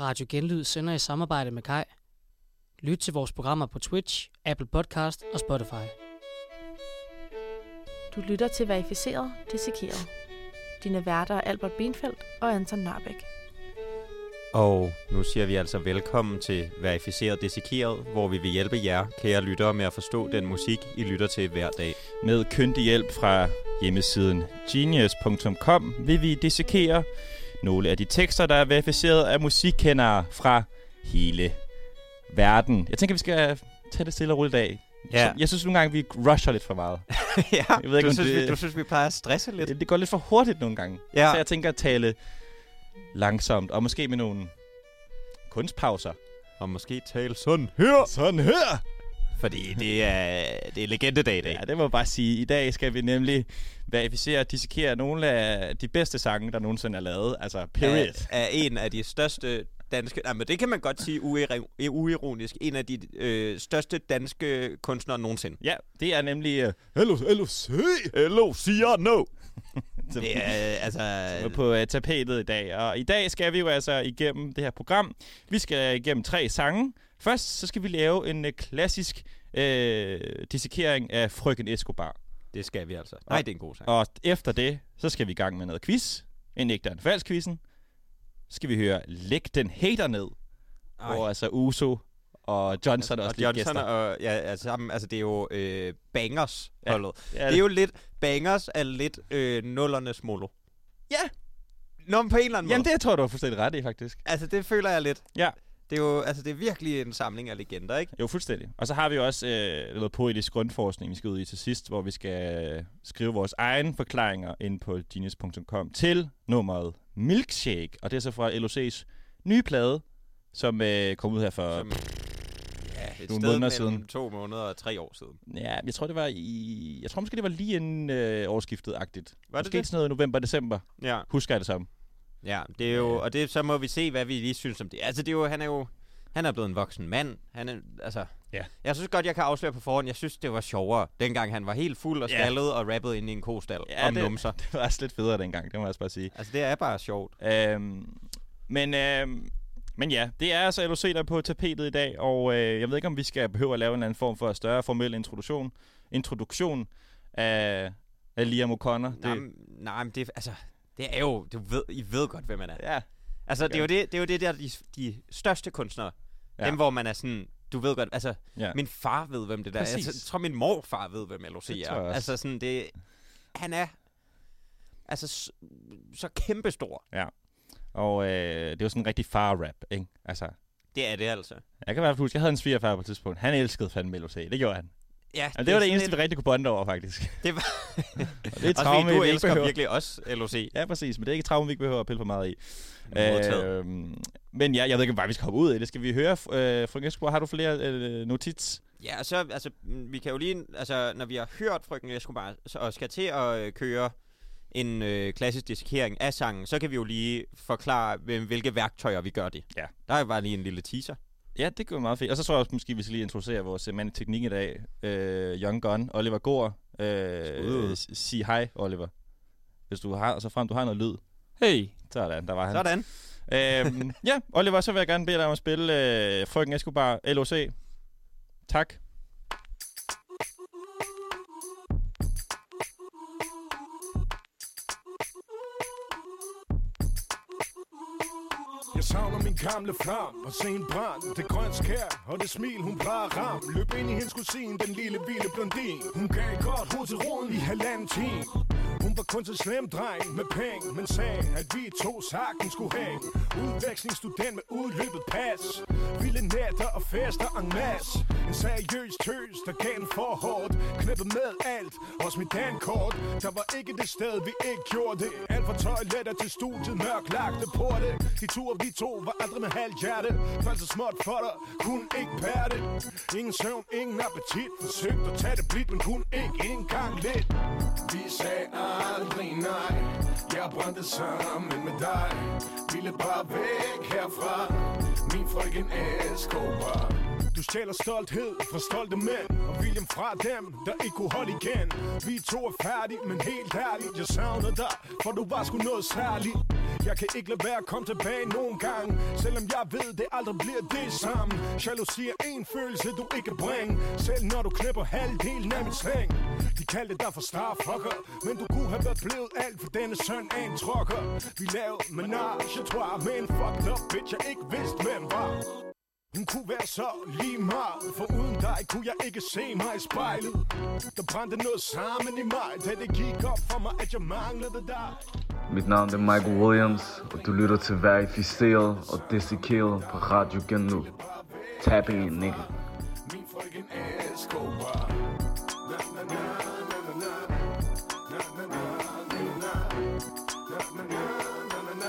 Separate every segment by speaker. Speaker 1: Radio Genlyd sender i samarbejde med Kai. Lyt til vores programmer på Twitch, Apple Podcast og Spotify.
Speaker 2: Du lytter til Verificeret, Dissekeret. Dine værter er Albert Benfeldt og Anton Narbæk.
Speaker 3: Og nu siger vi altså velkommen til Verificeret Dissekeret, hvor vi vil hjælpe jer, kære lyttere, med at forstå den musik, I lytter til hver dag.
Speaker 4: Med kyndig hjælp fra hjemmesiden genius.com vil vi dissekere nogle af de tekster, der er verificeret af musikkendere fra hele verden. Jeg tænker, vi skal tage det stille og roligt af.
Speaker 3: Ja.
Speaker 4: Jeg synes nogle gange, vi rusher lidt for meget.
Speaker 3: ja.
Speaker 4: Jeg ved ikke,
Speaker 3: du,
Speaker 4: om
Speaker 3: synes,
Speaker 4: det-
Speaker 3: vi, du synes, vi plejer at stresse lidt?
Speaker 4: Det, det går lidt for hurtigt nogle gange.
Speaker 3: Ja.
Speaker 4: Så jeg tænker at tale langsomt, og måske med nogle kunstpauser.
Speaker 3: Og måske tale sådan her,
Speaker 4: Sådan her!
Speaker 3: fordi det er, det er legendedag i dag.
Speaker 4: Ja, det må jeg bare sige. I dag skal vi nemlig verificere og dissekere nogle af de bedste sange, der nogensinde er lavet. Altså, period.
Speaker 3: Af, af en af de største danske... Nej, men det kan man godt sige uiro- uironisk. En af de øh, største danske kunstnere nogensinde.
Speaker 4: Ja, det er nemlig... Uh, hello, hello, see!
Speaker 3: Hello, siger no.
Speaker 4: Som,
Speaker 3: Det er altså...
Speaker 4: som er på uh, tapetet i dag. Og i dag skal vi jo altså igennem det her program. Vi skal igennem tre sange. Først så skal vi lave en uh, klassisk uh, dissekering af Frøken Escobar.
Speaker 3: Det skal vi altså. Nej, det er en god sang.
Speaker 4: Og efter det, så skal vi i gang med noget quiz. En ægte og en falsk quizzen. Så skal vi høre Læg den hater ned. Ej. Hvor altså Uso og Johnson
Speaker 3: Altså,
Speaker 4: også
Speaker 3: og
Speaker 4: lige
Speaker 3: Johnson
Speaker 4: gæster.
Speaker 3: og ja, altså, sammen, altså det er jo øh, bangers
Speaker 4: Ja,
Speaker 3: holdet. Ja,
Speaker 4: ja,
Speaker 3: det er jo lidt bangers er lidt øh, nullernes molo.
Speaker 4: Ja.
Speaker 3: Nå, men på en eller anden
Speaker 4: Jamen
Speaker 3: måde.
Speaker 4: det tror jeg, du har fuldstændig ret i, faktisk.
Speaker 3: Det... Altså det føler jeg lidt.
Speaker 4: Ja.
Speaker 3: Det er jo altså det er virkelig en samling af legender, ikke?
Speaker 4: Jo, fuldstændig. Og så har vi jo også øh, noget poetisk grundforskning, vi skal ud i til sidst, hvor vi skal øh, skrive vores egen forklaringer ind på genius.com til nummeret Milkshake. Og det er så fra LOC's nye plade, som øh, kom ud her for...
Speaker 3: Som, ja, et sted
Speaker 4: nogle måneder
Speaker 3: mellem
Speaker 4: siden.
Speaker 3: to måneder og tre år siden.
Speaker 4: Ja, jeg tror, det var i... Jeg tror måske, det var lige inden øh, årsskiftet-agtigt.
Speaker 3: Var det
Speaker 4: måske
Speaker 3: det?
Speaker 4: sådan noget november-december.
Speaker 3: Ja.
Speaker 4: Husker jeg det som.
Speaker 3: Ja, det er jo, og det, så må vi se, hvad vi lige synes om det. Altså, det er jo, han er jo, han er blevet en voksen mand. Han er, altså,
Speaker 4: Ja.
Speaker 3: Jeg synes godt, jeg kan afsløre på forhånd, jeg synes, det var sjovere, dengang han var helt fuld og
Speaker 4: Ja.
Speaker 3: skaldet og rappede ind i en kostal ja, om
Speaker 4: det,
Speaker 3: numser.
Speaker 4: det var også lidt federe dengang, det må jeg også bare sige.
Speaker 3: Altså, det er bare sjovt.
Speaker 4: Øhm, men, øhm, men ja, det er altså LOC, der er på tapetet i dag, og øh, jeg ved ikke, om vi skal behøve at lave en eller anden form for større formel introduktion, introduktion af, af Liam O'Connor.
Speaker 3: Det... Nej, men- nej, men det, er- altså, det er jo, du ved, I ved godt, hvem man er.
Speaker 4: ja,
Speaker 3: Altså, det er jo
Speaker 4: Godt.
Speaker 3: det, det, er jo det der, de, de største kunstnere, ja.
Speaker 4: Ja.
Speaker 3: dem hvor man er sådan, du ved godt, altså,
Speaker 4: ja.
Speaker 3: ja. min far ved, hvem det der er.
Speaker 4: Præcis.
Speaker 3: Jeg tror, min morfar ved, hvem LOC
Speaker 4: Det
Speaker 3: er.
Speaker 4: tror jeg også.
Speaker 3: Altså, sådan, det, han er altså så, så kæmpestor.
Speaker 4: Og øh, det er jo sådan en rigtig far-rap, ikke? Altså,
Speaker 3: Det er det altså.
Speaker 4: jeg kan i hvert fald huske, jeg havde en svigerfar på et tidspunkt. Han elskede fandme LOC, det gjorde han.
Speaker 3: Ja,
Speaker 4: Altså, det, det var det
Speaker 3: sådan
Speaker 4: eneste, vi
Speaker 3: lidt-
Speaker 4: rigtig kunne bonde over, faktisk.
Speaker 3: Det var-
Speaker 4: og det er et
Speaker 3: Også fordi
Speaker 4: traume,
Speaker 3: du
Speaker 4: vi ikke
Speaker 3: elsker
Speaker 4: behøver.
Speaker 3: virkelig også LOC.
Speaker 4: Ja, præcis, men det er ikke et traume, vi ikke behøver at pille for meget i.
Speaker 3: Modtaget.
Speaker 4: Øhm, men ja, jeg ved ikke, hvad vi skal hoppe ud i. Det skal vi høre. F- Øh, Frøken Escobar, har du flere øh, notits?
Speaker 3: Ja, og så, altså, mm, vi kan jo lige, altså, når vi har hørt Frøken Escobar, så, og skal til at øh, køre en øh, klassisk dissekering af sangen, så kan vi jo lige forklare, hvem, hvilke værktøjer vi gør det.
Speaker 4: Ja.
Speaker 3: Der er bare lige en lille teaser.
Speaker 4: Ja, det kunne være meget fedt. Og så tror jeg også, måske vi skal lige introducere vores øh, mand i teknik i dag. Øh, Young Gun, Oliver Gore.
Speaker 3: Skud.
Speaker 4: Øh, s- sig hej, Oliver. Hvis du har, så frem du har noget lyd.
Speaker 1: Hey!
Speaker 4: Sådan, der var han.
Speaker 3: Sådan.
Speaker 4: Øhm, ja, Oliver, så vil jeg gerne bede dig om at spille øh, Frøken Escobar, LOC. Tak.
Speaker 5: Jeg savner min gamle farm og se en brand Det grønt skær og det smil hun plejer at ramme Løb ind i hendes kusin, den lille vilde blondin Hun gav et godt hoved til roden i halvanden time Hun var kun så slem dreng med penge Men sagde, at vi to sagtens skulle hænge Udvekslingsstudent med udløbet pas Vilde nætter og fester en masse En seriøs tøs, der gav en for hårdt Knippet med alt, også mit dankort Der var ikke det sted, vi ikke gjorde det Alt fra toiletter til studiet, mørklagte porte De to og vi to var aldrig med halv hjerte Faldt så småt for dig, kunne ikke bære det Ingen søvn, ingen appetit Forsøgte at tage det blidt, men kunne ikke engang lidt Vi sagde aldrig nej Jeg brændte sammen med dig Ville bare væk herfra Min frøken Escobar du stjæler stolthed fra stolte mænd Og William fra dem, der ikke kunne holde igen Vi to er færdige, men helt ærligt Jeg savner dig, for du var sgu noget særligt Jeg kan ikke lade være at komme tilbage nogen gang Selvom jeg ved, det aldrig bliver det samme Jalousi er en følelse, du ikke kan bringe Selv når du klipper halvdelen af min seng De kaldte dig for starfucker Men du kunne have været blevet alt for denne søn af en trokker Vi lavede menage, tror jeg, med en fucked up bitch Jeg ikke vidste, hvem var hun kunne være så lige meget For uden dig kunne jeg ikke se mig i spejlet Der brændte noget sammen i mig Da det gik op for mig, at jeg manglede dig
Speaker 6: Mit navn er Michael Williams, og du lytter til Verificel og Dissekill på Radio Genlu. Tap in, nigga.
Speaker 5: Min frøken Escobar Na, na, na, na, na, na. Na, na, na, na, na, na. Na, na, na,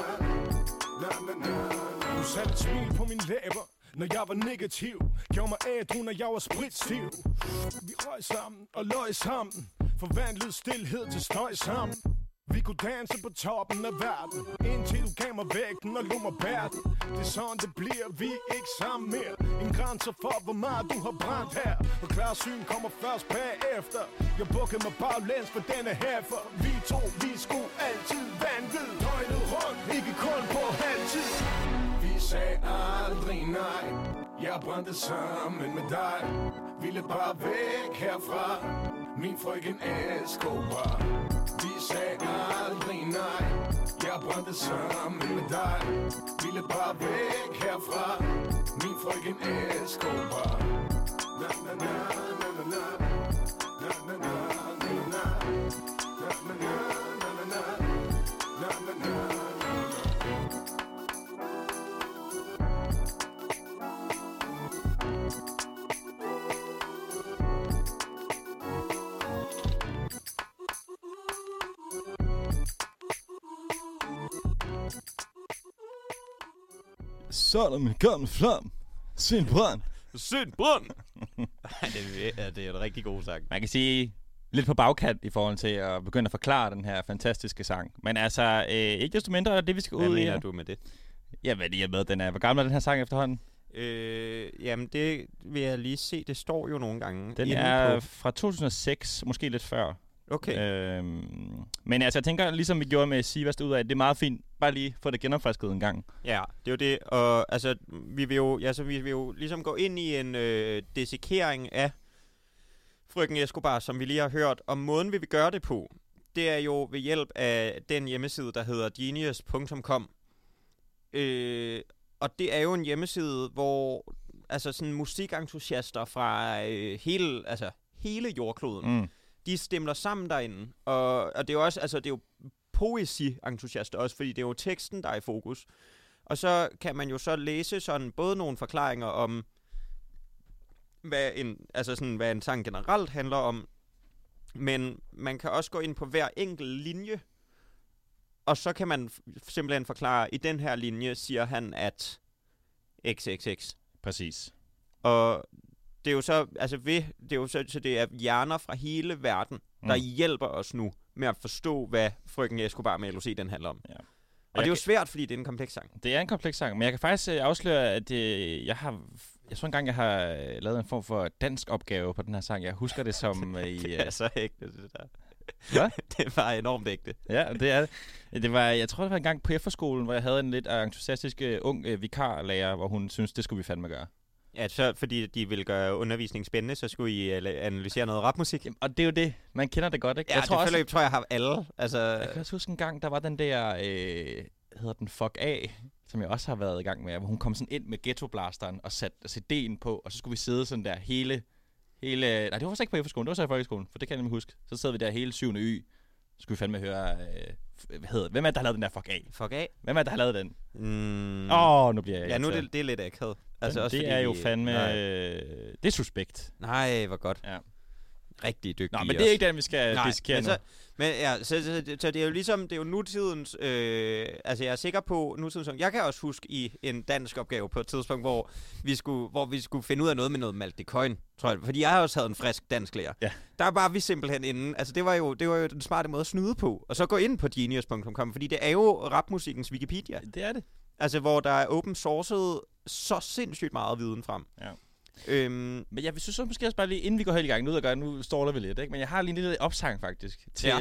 Speaker 5: na, na, na. Na, na, na, na. Du satte et smil på min læber når jeg var negativ Gjorde mig ædru, når jeg var spritstiv Vi røg sammen og løg sammen Forvandlede stillhed til støj sammen vi kunne danse på toppen af verden Indtil du gav mig vægten og lå mig bære den Det er sådan det bliver, vi er ikke sammen mere En grænse for, hvor meget du har brændt her Og klar syn kommer først bagefter Jeg bukkede mig baglæns for denne herfer Vi to, vi skulle altid vanvid Døgnet rundt, ikke kun på halvtid vi sagde aldrig nej Jeg brændte sammen med dig Ville bare væk herfra Min frøken Escobar Vi sagde aldrig nej Jeg brændte sammen med dig Ville bare væk herfra Min frøken Escobar Na na na na na na Na na na na na Na na na na na na Na na na na na
Speaker 4: Sådan kom flam. Sind brand.
Speaker 3: Synd brund! det, er, det er en rigtig god sang.
Speaker 4: Man kan sige lidt på bagkant i forhold til at begynde at forklare den her fantastiske sang. Men altså, øh, ikke desto mindre er det, vi skal
Speaker 3: Hvad
Speaker 4: ud i.
Speaker 3: mener
Speaker 4: her.
Speaker 3: du med det?
Speaker 4: Jamen, i og med, at den er. Hvor gammel er den her sang efterhånden?
Speaker 3: Øh, jamen, det vil jeg lige se. Det står jo nogle gange.
Speaker 4: Den
Speaker 3: inde
Speaker 4: er
Speaker 3: på-
Speaker 4: fra 2006, måske lidt før.
Speaker 3: Okay.
Speaker 4: Øhm, men altså, jeg tænker, ligesom vi gjorde med Sivas ud af, det er meget fint. Bare lige få det genopfrisket en gang.
Speaker 3: Ja, det er jo det. Og altså, vi vil jo, altså, vi vil jo ligesom gå ind i en øh, desikering af frøken Escobar, som vi lige har hørt. Og måden, vi vil gøre det på, det er jo ved hjælp af den hjemmeside, der hedder genius.com. Øh, og det er jo en hjemmeside, hvor altså, sådan musikentusiaster fra øh, hele, altså, hele jordkloden,
Speaker 4: Mm.
Speaker 3: de stemmer sammen derinde. Og, og det er jo også, altså det er jo poesi-entusiaster også, fordi det er jo teksten, der er i fokus. Og så kan man jo så læse sådan både nogle forklaringer om, hvad en, altså sådan, hvad en sang generelt handler om, men man kan også gå ind på hver enkelt linje, og så kan man f- simpelthen forklare, i den her linje siger han, at xxx.
Speaker 4: Præcis.
Speaker 3: Og det er jo så, altså ved, det er jo så, så det er hjerner fra hele verden, mm. der
Speaker 4: Mm.
Speaker 3: hjælper os nu med at forstå, hvad frøken Escobar med LOC den handler om.
Speaker 4: Ja.
Speaker 3: Og,
Speaker 4: jeg
Speaker 3: og det er jo
Speaker 4: kan-
Speaker 3: svært, fordi det er en kompleks sang.
Speaker 4: Det er en kompleks sang, men jeg kan faktisk øh, afsløre, at øh, jeg har... Jeg tror engang, jeg har øh, lavet en form for dansk opgave på den her sang. Jeg husker det som... Øh, i,
Speaker 3: Det
Speaker 4: øh,
Speaker 3: er så ægte, det der.
Speaker 4: Hvad?
Speaker 3: det var enormt ægte.
Speaker 4: Ja, det er det. det. Var, jeg tror, det var en gang på efterskolen, hvor jeg havde en lidt entusiastisk øh, ung øh, vikarlærer, hvor hun syntes, det skulle vi fandme gøre.
Speaker 3: Ja, så fordi de ville gøre undervisningen spændende, så skulle I øh, analysere noget rapmusik. Ja,
Speaker 4: Jamen, og det er jo det. Man kender det godt, ikke?
Speaker 3: jeg tror det
Speaker 4: også,
Speaker 3: forløb tror jeg har alle. Altså,
Speaker 4: jeg kan også huske en gang, der var den der... Øh, hedder den Fuck af, som jeg også har været i gang med, hvor hun kom sådan ind med ghettoblasteren og satte CD'en på, og så skulle vi sidde sådan der hele... hele nej, det var så ikke på efterskolen, det var så i folkeskolen, for det kan jeg nemlig huske. Så sad vi der hele 7. Y, så skulle vi fandme høre... Øh, f- hvad hedder det? Hvem er det, der har lavet den der Fuck af?
Speaker 3: fuck af.
Speaker 4: Hvem er det, der har lavet den?
Speaker 3: Mm.
Speaker 4: Åh, oh, nu bliver jeg
Speaker 3: ja, nu er
Speaker 4: irriteret.
Speaker 3: det, det er lidt akavet.
Speaker 4: Altså også det
Speaker 3: fordi
Speaker 4: er jo
Speaker 3: vi-
Speaker 4: fandme...
Speaker 3: Nej,
Speaker 4: Øh, det er suspekt.
Speaker 3: nej hvor godt.
Speaker 4: Ja.
Speaker 3: Rigtig dygtig
Speaker 4: Nå, men det er ikke den, vi skal
Speaker 3: Nej,
Speaker 4: diskutere
Speaker 3: men
Speaker 4: nu.
Speaker 3: så, men ja, så, så, så, så det er jo ligesom, det er jo nutidens, øh, altså jeg er sikker på nutidens, jeg kan også huske i en dansk opgave på et tidspunkt, hvor vi skulle, hvor vi skulle finde ud af noget med noget maltecoin, tror jeg, fordi jeg har også havde en frisk dansk lærer.
Speaker 4: Ja.
Speaker 3: Der var vi simpelthen inde, altså det var, jo, det var jo den smarte måde at snyde på, og så gå ind på genius.com, fordi det er jo rapmusikkens Wikipedia,
Speaker 4: Det er det.
Speaker 3: altså hvor der er open sourced så sindssygt meget viden frem.
Speaker 4: Ja.
Speaker 3: Øhm,
Speaker 4: Men jeg synes så måske også bare lige, inden vi går helt i gang, nu ud og gør, nu ståler vi lidt, ikke? men jeg har lige en lille opsang faktisk til ja.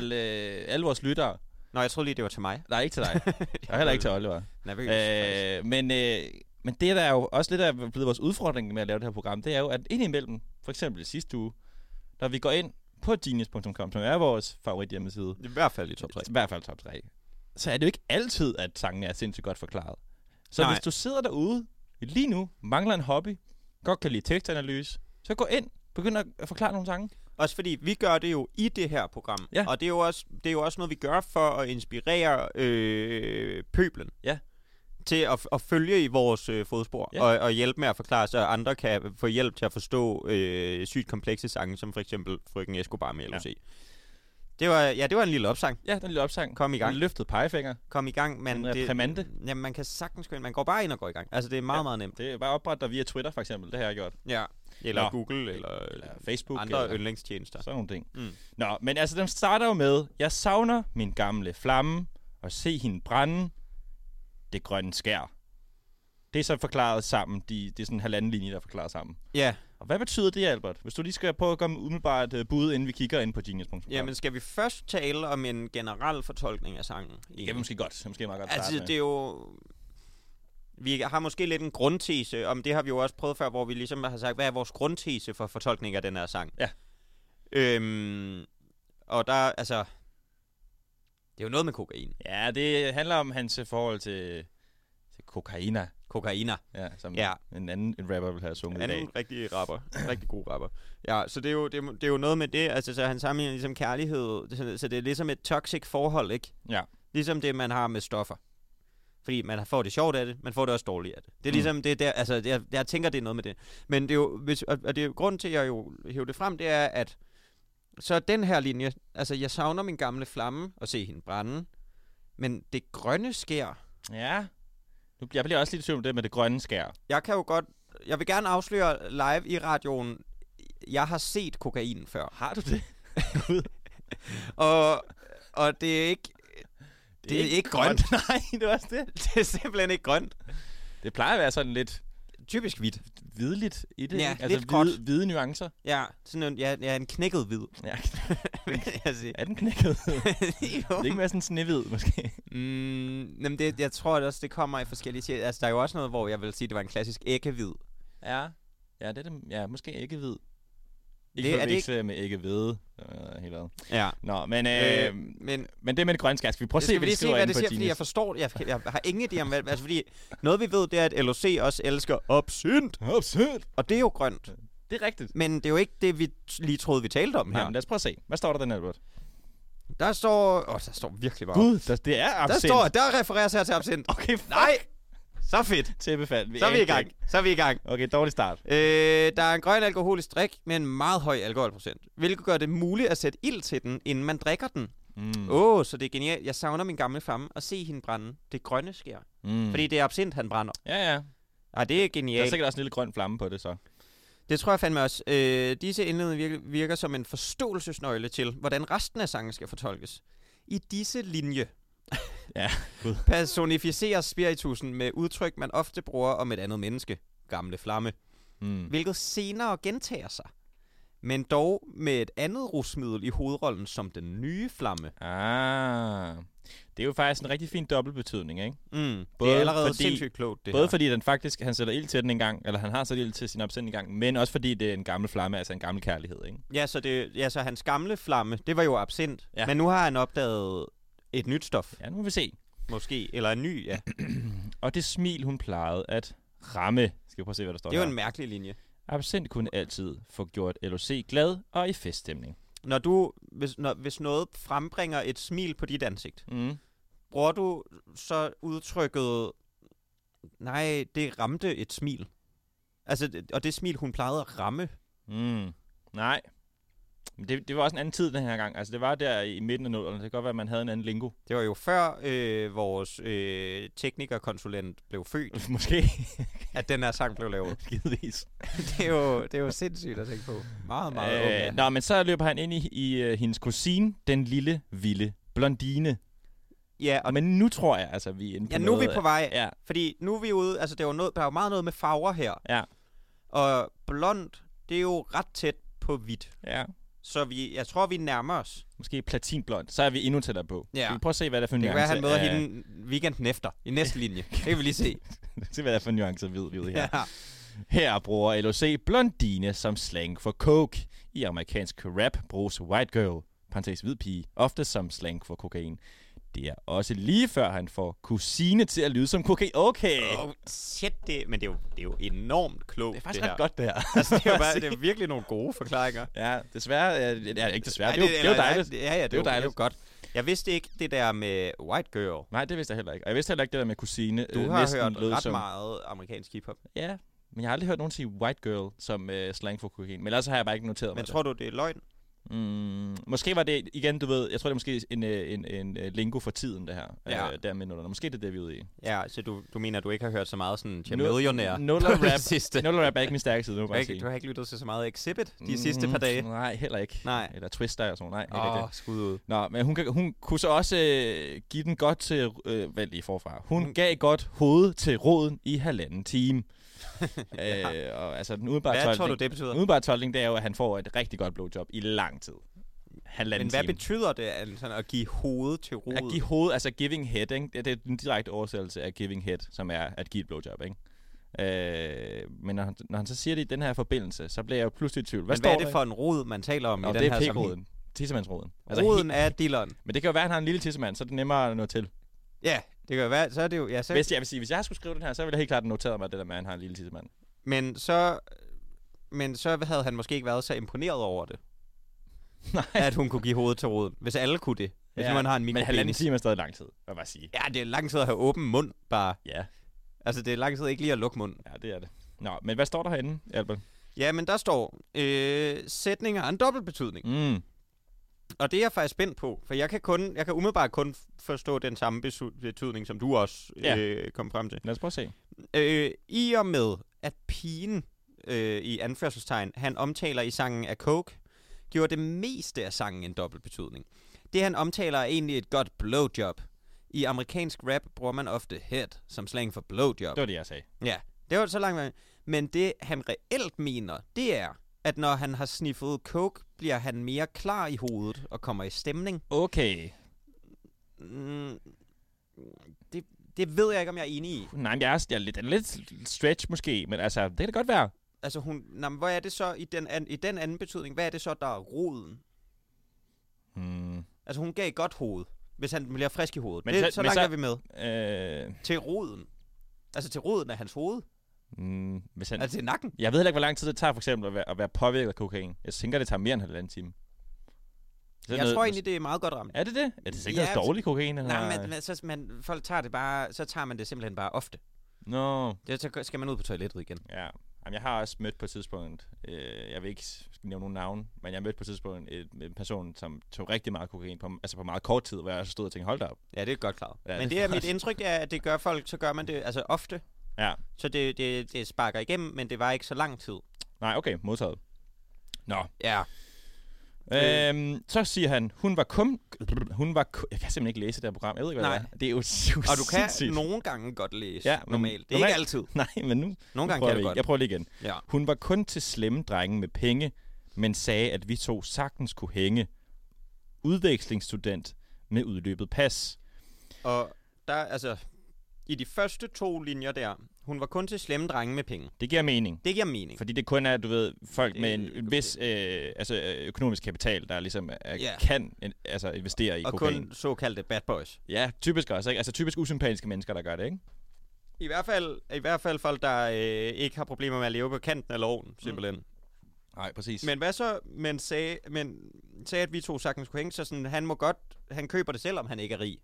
Speaker 4: øh, alle vores lyttere.
Speaker 3: Nå, jeg troede lige, det var til mig.
Speaker 4: Nej, ikke til dig. Og heller ikke til Oliver.
Speaker 3: Nervøs. Øh...
Speaker 4: Øh, men, øh, men det, der er jo også lidt af blevet vores udfordring med at lave det her program, det er jo, at indimellem, for eksempel i sidste uge, når vi går ind på genius.com, som er vores favorit hjemmeside,
Speaker 3: I hvert fald i top 3.
Speaker 4: i hvert fald top 3, så er det jo ikke altid, at sangene er sindssygt godt forklaret. Så
Speaker 3: Nej.
Speaker 4: Nej. hvis du sidder derude lige nu, mangler en hobby, godt kan lide tekstanalyse, så gå ind, begynd at at forklare nogle sange.
Speaker 3: Også fordi vi gør det jo i det her program.
Speaker 4: Ja.
Speaker 3: Og det er, jo også, det er jo også noget, vi gør for at inspirere øh, pøblen.
Speaker 4: Ja.
Speaker 3: Til at, at følge i vores øh, fodspor.
Speaker 4: Ja.
Speaker 3: Og, og hjælpe med at forklare, så andre kan få hjælp til at forstå øh, sygt komplekse sange, som for eksempel Frøken Escobar med LOC. Ja. Det var, ja, det var en lille opsang.
Speaker 4: Ja, den lille opsang.
Speaker 3: Kom i gang.
Speaker 4: En løftet pegefinger.
Speaker 3: Kom i gang. Man,
Speaker 4: En reprimande.
Speaker 3: Jamen, man kan sagtens gå ind. Man går bare ind og går i gang. Altså, det er meget, ja.
Speaker 4: Ja.
Speaker 3: meget nemt.
Speaker 4: Det er bare oprettet dig via Twitter, for eksempel. Det har jeg gjort.
Speaker 3: Ja. Eller
Speaker 4: Nå.
Speaker 3: Google, eller, eller
Speaker 4: Eller Facebook.
Speaker 3: andre
Speaker 4: eller-
Speaker 3: yndlingstjenester.
Speaker 4: Sådan nogle ting.
Speaker 3: Mm.
Speaker 4: Mm. Nå, men altså, den starter jo med, jeg savner min gamle flamme, og se hende brænde det grønne skær. Det er så forklaret sammen. De, det er sådan en halvanden linje, der er forklaret sammen.
Speaker 3: Ja.
Speaker 4: Og hvad betyder det, Albert? Hvis du lige skal prøve at komme umiddelbart uh, bud, inden vi kigger ind på genius.com.
Speaker 3: Jamen, skal vi først tale om en generel fortolkning af sangen?
Speaker 4: det kan vi måske godt. Det er Måske meget godt at
Speaker 3: Altså,
Speaker 4: starte
Speaker 3: det er
Speaker 4: med.
Speaker 3: jo... Vi har måske lidt en grundtese, om det har vi jo også prøvet før, hvor vi ligesom har sagt, hvad er vores grundtese for fortolkning af den her sang?
Speaker 4: Ja.
Speaker 3: Øhm, og der, altså... Det er jo noget med kokain.
Speaker 4: Ja, det handler om hans øh, forhold til, til kokaina.
Speaker 3: Kokainer.
Speaker 4: Ja, som
Speaker 3: Ja.
Speaker 4: ja. en anden en rapper vil have sunget i dag.
Speaker 3: Anden rigtig rapper. rigtig god rapper. Ja, så det er, jo, det, er, jo- det er jo noget med det. Altså, så han sammenligner ligesom kærlighed. Det er sådan- Så det er ligesom et toxic forhold, ikke?
Speaker 4: Ja.
Speaker 3: Ligesom det, man har med stoffer. Fordi man får det sjovt af det, man får det også dårligt af det. Det er
Speaker 4: Mm.
Speaker 3: ligesom, det er der, altså, det er, jeg tænker, det er noget med det. Men det er jo, hvis, og, og det er jo, grunden til, at jeg jo hæver det frem, det er, at så den her linje, altså, jeg savner min gamle flamme og se hende brænde, men det grønne sker,
Speaker 4: Ja. Nu, jeg bliver også lidt i tvivl om det med det grønne skær.
Speaker 3: jeg kan jo godt, jeg vil gerne afsløre live i radioen, jeg har set kokain før. Har du det? og, og det er ikke, det, det er ikke, ikke grønt. grønt.
Speaker 4: Nej, det er også det.
Speaker 3: det er simpelthen ikke grønt.
Speaker 4: Det plejer at være sådan lidt
Speaker 3: Typisk hvidt.
Speaker 4: hvidligt i det.
Speaker 3: Ja,
Speaker 4: ikke? altså
Speaker 3: lidt gråt.
Speaker 4: hvide, hvide nuancer.
Speaker 3: Ja, sådan en, ja, ja, en knækket hvid.
Speaker 4: Ja,
Speaker 3: altså,
Speaker 4: er den knækket? det
Speaker 3: jo.
Speaker 4: er ikke mere sådan snehvid, måske.
Speaker 3: Mm, jamen det, jeg tror det også, det kommer i forskellige serier. Altså, der er jo også noget, hvor jeg vil sige, det var en klassisk æggehvid.
Speaker 4: Ja. Ja, det er det. Ja, måske ikke hvid.
Speaker 3: Det-
Speaker 4: Ikke
Speaker 3: er
Speaker 4: det,
Speaker 3: det
Speaker 4: er det ikke med ikke hvide. Øh, helt ad.
Speaker 3: Ja.
Speaker 4: Nå, men, øh,
Speaker 3: Øh,
Speaker 4: øh,
Speaker 3: men
Speaker 4: men det med det grønne skær, skal vi prøve at
Speaker 3: Skal
Speaker 4: se,
Speaker 3: vi
Speaker 4: hvad
Speaker 3: lige
Speaker 4: de
Speaker 3: se,
Speaker 4: skriver
Speaker 3: hvad
Speaker 4: inde
Speaker 3: det
Speaker 4: på
Speaker 3: siger, fordi jeg
Speaker 4: Genius?
Speaker 3: forstår, jeg, jeg har ingen idé om, hvad, altså fordi noget vi ved, det er, at LOC også elsker absint,
Speaker 4: Absurd.
Speaker 3: og det er jo grønt.
Speaker 4: Det er rigtigt.
Speaker 3: Men det er jo ikke det, vi t- lige troede, vi talte om
Speaker 4: Nå,
Speaker 3: her.
Speaker 4: men lad os prøve at se. Hvad står der den, Albert?
Speaker 3: Der står... Åh, oh, der står virkelig meget.
Speaker 4: Gud, der, det er
Speaker 3: der
Speaker 4: absent.
Speaker 3: står... Der refereres her til absint.
Speaker 4: Okay, fuck.
Speaker 3: Nej! Så fedt.
Speaker 4: Tæppefald.
Speaker 3: Så er vi i
Speaker 4: anede det
Speaker 3: gang.
Speaker 4: ikke.
Speaker 3: Så er vi i gang.
Speaker 4: Okay, dårlig start.
Speaker 3: Øh, der er en grøn alkoholisk drik med en meget høj alkoholprocent, hvilket gør det muligt at sætte ild til den, inden man drikker den. Åh,
Speaker 4: Mm.
Speaker 3: oh, så det er genialt. Jeg savner min gamle flamme og se hende brænde. Det grønne sker. Mm.
Speaker 4: Mm.
Speaker 3: Fordi det er absint, han brænder.
Speaker 4: Ja, ja.
Speaker 3: Ej, det er
Speaker 4: Der er
Speaker 3: genialt.
Speaker 4: sikkert også en lille grøn flamme på det, så.
Speaker 3: Det tror jeg fandme også. Øh, disse indledninger virker, virker som en forståelsesnøgle til, hvordan resten af sangen skal fortolkes. I disse linje
Speaker 4: Ja, gud.
Speaker 3: personificerer spiritusen med udtryk, man ofte bruger om et andet menneske, gamle flamme,
Speaker 4: Mm.
Speaker 3: hvilket senere gentager sig, men dog med et andet rusmiddel i hovedrollen som den nye flamme.
Speaker 4: Ah. Det er jo faktisk en rigtig fin dobbeltbetydning, ikke?
Speaker 3: Mm. det er
Speaker 4: Både
Speaker 3: allerede
Speaker 4: fordi-
Speaker 3: sindssygt klogt, det
Speaker 4: Både
Speaker 3: her.
Speaker 4: fordi den faktisk, han sætter ild til den en gang, eller han har sat ild til sin absint en gang, men også fordi det er en gammel flamme, altså en gammel kærlighed, ikke?
Speaker 3: Ja, så det, ja, så hans gamle flamme, det var jo absint, ja.
Speaker 4: Ja.
Speaker 3: men nu har han opdaget et nyt stof,
Speaker 4: Ja, nu må vi se.
Speaker 3: måske, eller en ny, ja.
Speaker 4: Og det smil, hun plejede at ramme. Skal vi prøve at se, hvad der står
Speaker 3: Det er jo
Speaker 4: her.
Speaker 3: en mærkelig linje.
Speaker 4: Absint kunne altid få gjort LOC glad og i feststemning.
Speaker 3: Når du, hvis, når, hvis noget frembringer et smil på dit ansigt,
Speaker 4: Mm.
Speaker 3: bruger du så udtrykket, nej, det ramte et smil. Altså, det- og det smil, hun plejede at ramme.
Speaker 4: Mm. Nej. Men det, det var også en anden tid den her gang. Altså, det var der i midten af nullerne. Det kan godt være, at man havde en anden lingo.
Speaker 3: Det var jo før øh, vores øh, teknikerkonsulent blev født,
Speaker 4: Måske.
Speaker 3: at den her sang blev lavet.
Speaker 4: Givetvis.
Speaker 3: det, er jo, det er jo sindssygt at tænke på. Meget, meget øh,
Speaker 4: Øh, nå, men så løber han ind i, i uh, hendes kusine, den lille, vilde blondine.
Speaker 3: Ja, og
Speaker 4: Og men nu tror jeg, altså, vi er inde på
Speaker 3: ja, nu er vi
Speaker 4: noget-
Speaker 3: på vej.
Speaker 4: Ja,
Speaker 3: Fordi nu er vi ude, altså det er jo noget, der er jo meget noget med farver her.
Speaker 4: Ja.
Speaker 3: Og blond, det er jo ret tæt på hvidt.
Speaker 4: ja.
Speaker 3: Så vi, jeg tror, vi nærmer os.
Speaker 4: Måske platinblond. Så er vi endnu tættere på.
Speaker 3: Ja.
Speaker 4: Skal vi prøve at se, hvad der er for
Speaker 3: Det kan
Speaker 4: nuancer
Speaker 3: være, han møder
Speaker 4: af-
Speaker 3: hende weekenden efter, i næste linje. Det kan vi lige se.
Speaker 4: se, hvad der er for nuancer ved vi ude her.
Speaker 3: Ja.
Speaker 4: Her bruger LOC blondine som slang for coke. I amerikansk rap bruges white girl, parentes hvid pige, ofte som slang for kokain. Det er også lige før han får kusine til at lyde som kokain. Okay! Oh,
Speaker 3: Oh, shit, det, men det er, jo, det er jo enormt klogt,
Speaker 4: det er
Speaker 3: det
Speaker 4: faktisk det
Speaker 3: her.
Speaker 4: ret godt, det her.
Speaker 3: Altså, det er, jo bare, det er virkelig nogle gode forklaringer.
Speaker 4: Ja, desværre... Ja, det er ikke desværre.
Speaker 3: Ej,
Speaker 4: det, er jo- det er jo
Speaker 3: eller-
Speaker 4: dejligt.
Speaker 3: nej, Ja, ja, det,
Speaker 4: Det er
Speaker 3: dejligt.
Speaker 4: jo dejligt.
Speaker 3: Det er jo godt. Jeg vidste ikke det der med white girl.
Speaker 4: Nej, det vidste jeg heller ikke. Og jeg vidste heller ikke det der med kusine.
Speaker 3: Du
Speaker 4: øh,
Speaker 3: har
Speaker 4: næsten
Speaker 3: hørt
Speaker 4: lød
Speaker 3: ret
Speaker 4: som,
Speaker 3: meget amerikansk hiphop.
Speaker 4: Ja, men jeg har aldrig hørt nogen sige white girl som øh, slang for kokain. Men ellers har jeg bare ikke noteret
Speaker 3: Men
Speaker 4: mig det.
Speaker 3: tror du, det er løgn?
Speaker 4: Mm, måske var det, igen, du ved, jeg tror, det er måske en, øh, en, en, en lingo for tiden, det her.
Speaker 3: Ja.
Speaker 4: Ja. Øh, der med nullerne. Måske det er det, vi er ude i.
Speaker 3: Ja, så du, du mener, du ikke har hørt så meget sådan
Speaker 4: Nul-
Speaker 3: Chamillionaire
Speaker 4: nuller
Speaker 3: på det
Speaker 4: rap.
Speaker 3: sidste.
Speaker 4: Nuller rap er ikke min stærke side, nu
Speaker 3: Du
Speaker 4: må
Speaker 3: har,
Speaker 4: jeg
Speaker 3: ikke, du
Speaker 4: sige. Mm,
Speaker 3: har ikke lyttet til så meget Exhibit de sidste par dage?
Speaker 4: Nej, heller ikke.
Speaker 3: Nej.
Speaker 4: Eller Twister og sådan noget. Nej, heller
Speaker 3: Åh,
Speaker 4: ikke
Speaker 3: oh, skud ud.
Speaker 4: det. Nå, men hun, kan, hun kunne så også øh, give den godt til... Øh, vent lige forfra. Hun
Speaker 3: Hun-
Speaker 4: gav godt hoved til roden i halvanden time. øh, og altså, den umiddelbare
Speaker 3: Hvad
Speaker 4: tolkning,
Speaker 3: tror du, det betyder?
Speaker 4: Den umiddelbare tolkning, det Mm, er jo, at han får et rigtig godt blowjob i lang tid. Halvanden
Speaker 3: Men hvad
Speaker 4: time.
Speaker 3: betyder det altså, sådan at give hovedet til rodet?
Speaker 4: At give hoved, altså giving head, ikke? Det, det er den direkte oversættelse af giving head, som er at give et blowjob, ikke? Øh, men når han, når han så siger det i den her forbindelse, så bliver jeg jo pludselig i tvivl. Hvad,
Speaker 3: Men hvad
Speaker 4: står
Speaker 3: er det for en rod, man taler om
Speaker 4: Nå,
Speaker 3: i den
Speaker 4: det
Speaker 3: her
Speaker 4: er
Speaker 3: sammenhæng?
Speaker 4: pikroden. Tissemandsroden.
Speaker 3: Roden
Speaker 4: he-
Speaker 3: er dilleren.
Speaker 4: men det kan jo være, at han har en lille tissemand, så er det nemmere at nå til.
Speaker 3: Ja, det kan være. Så er det jo... Ja, så,
Speaker 4: Hvis jeg, vil sige, hvis jeg skulle skrive den her, så ville jeg helt klart notere mig det der med, at han har en lille tissemand.
Speaker 3: Men så... Men så havde han måske ikke været så imponeret over det,
Speaker 4: Nej,
Speaker 3: at hun kunne give hovedet til roden. Hvis alle kunne det. Hvis ja, man har en
Speaker 4: men halvanden
Speaker 3: mikropenis.
Speaker 4: time er stadig lang tid, vil jeg bare sige.
Speaker 3: Ja, det er lang tid at have åben mund, bare.
Speaker 4: Ja,
Speaker 3: Altså, det er lang tid ikke lige at lukke munden.
Speaker 4: ja, det er det. Nå, men hvad står der herinde, Albert?
Speaker 3: Ja, men der står, øh, sætninger har en dobbeltbetydning.
Speaker 4: Mm.
Speaker 3: Og det er jeg faktisk spændt på, for jeg kan, kun, jeg kan umiddelbart kun forstå den samme besu- betydning, som du også øh,
Speaker 4: Ja.
Speaker 3: kom frem til.
Speaker 4: Lad os prøve at se.
Speaker 3: Øh, I og med, at pigen øh, i anførselstegn, han omtaler i sangen af Coke, gjorde det meste af sangen en dobbelt betydning. Det han omtaler er egentlig et godt blowjob. I amerikansk rap bruger man ofte head som slang for blowjob.
Speaker 4: Det var det, jeg sagde.
Speaker 3: Ja, det var så langt vej. Men det, han reelt mener, det er, at når han har sniffet coke, bliver han mere klar i hovedet og kommer i stemning.
Speaker 4: Okay.
Speaker 3: Mm, det, det ved jeg ikke, om jeg er enig i.
Speaker 4: Nej, men jeg er, jeg er, lidt, den er lidt stretch måske, men altså, det kan det godt være.
Speaker 3: Altså, hun, nå, men hvor er det så i den, an, i den anden betydning? Hvad er det så, der er roden?
Speaker 4: Hmm.
Speaker 3: Altså, hun gav et godt hoved, hvis han bliver frisk i hovedet. Men
Speaker 4: Men
Speaker 3: det, så,
Speaker 4: så-
Speaker 3: så
Speaker 4: men
Speaker 3: langt
Speaker 4: så-
Speaker 3: er vi med.
Speaker 4: Øh,
Speaker 3: Til roden. Altså, til roden af hans hoved.
Speaker 4: mm, hvis han,
Speaker 3: Altså, til nakken.
Speaker 4: jeg ved heller ikke, hvor lang tid det tager for eksempel at være, at være påvirket af kokain. Jeg tænker, det tager mere end halvanden time. Sådan
Speaker 3: Jeg
Speaker 4: noget-
Speaker 3: tror egentlig, det er meget godt ramt.
Speaker 4: Er det det? Er det sikkert
Speaker 3: Ja,
Speaker 4: ja, noget dårlig kokain? Han
Speaker 3: Nej,
Speaker 4: har?
Speaker 3: men, men så, man, folk tager det bare, så tager man det simpelthen bare ofte.
Speaker 4: Nå,
Speaker 3: Det, så skal man ud på toilettet igen.
Speaker 4: ja. Jamen, jeg har også mødt på et tidspunkt, øh, jeg vil ikke s- nævne nogen navn, men jeg mødte på et tidspunkt et, en person, som tog rigtig meget kokain på, altså på meget kort tid, hvor jeg også stod og tænkte, hold da op.
Speaker 3: Ja, det er godt klart.
Speaker 4: Ja,
Speaker 3: Men
Speaker 4: det
Speaker 3: det er
Speaker 4: er
Speaker 3: mit
Speaker 4: godt.
Speaker 3: indtryk, det er, at det gør folk, så gør man det altså ofte.
Speaker 4: Ja.
Speaker 3: Så det, det, det sparker igennem, men det var ikke så lang tid.
Speaker 4: Nej, okay, modtaget. Nå,
Speaker 3: Ja.
Speaker 4: Øhm, så siger han, hun var kum... Hun var ku- jeg kan simpelthen ikke læse det her program. Jeg ved ikke, hvad
Speaker 3: Nej.
Speaker 4: det er. Det er jo så
Speaker 3: Og du kan
Speaker 4: sindssygt.
Speaker 3: nogle gange godt læse ja,
Speaker 4: Ja, men
Speaker 3: normalt. Det er
Speaker 4: normalt-
Speaker 3: ikke altid.
Speaker 4: Nej, men nu
Speaker 3: Nogle gange
Speaker 4: prøver
Speaker 3: kan
Speaker 4: jeg
Speaker 3: det godt.
Speaker 4: Jeg prøver lige igen.
Speaker 3: Ja.
Speaker 4: Hun var kun til slemme drenge med penge, men sagde, at vi to sagtens kunne hænge. Udvekslingsstudent med udløbet pas.
Speaker 3: Og der, altså, i de første to linjer der, hun var kun til slemme drenge med penge.
Speaker 4: Det giver mening.
Speaker 3: Det giver mening.
Speaker 4: Fordi det kun er, du ved, folk
Speaker 3: Det-
Speaker 4: med en en vis øh, altså, øh, økonomisk kapital, der ligesom er,
Speaker 3: Ja.
Speaker 4: kan en, altså, investere i
Speaker 3: Og
Speaker 4: kokain.
Speaker 3: kun såkaldte bad boys.
Speaker 4: Ja, typisk også, ikke? Altså typisk usympatiske mennesker, der gør det, ikke?
Speaker 3: I hvert fald, i hvert fald folk, der øh, ikke har problemer med at leve på kanten af loven, simpelthen. Mm.
Speaker 4: Nej, præcis.
Speaker 3: Men hvad så, men sagde, men sagde, at vi to sagtens kunne hænge, så sådan, han må godt, han køber det, selvom han ikke er rig.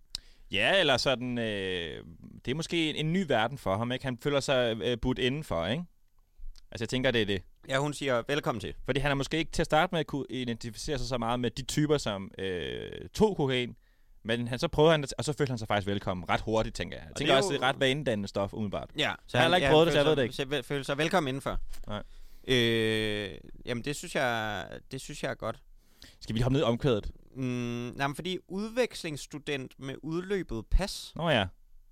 Speaker 4: Ja, eller sådan, øh, det er måske en, en ny verden for ham, ikke? Han føler sig øh, budt indenfor, ikke? Altså, jeg tænker, det er det.
Speaker 3: Ja, hun siger, velkommen til.
Speaker 4: Fordi han har måske ikke til at starte med kunne identificere sig så meget med de typer, som øh, tog kokain, men han, så prøvede han, det, og så følte han sig faktisk velkommen ret hurtigt, tænker jeg. Jeg tænker
Speaker 3: det er
Speaker 4: også, det er
Speaker 3: jo-
Speaker 4: ret vanedannende stof, umiddelbart.
Speaker 3: Ja, så
Speaker 4: Jeg har heller ikke prøvet det, så jeg ved det
Speaker 3: ikke. Føler sig, føler sig velkommen indenfor.
Speaker 4: Nej.
Speaker 3: Øh, jamen, det synes jeg, det synes jeg er godt.
Speaker 4: Skal vi lige hoppe ned i omkvædet?
Speaker 3: Mm, nej, men fordi udvekslingsstudent med udløbet pas,
Speaker 4: Nå ja.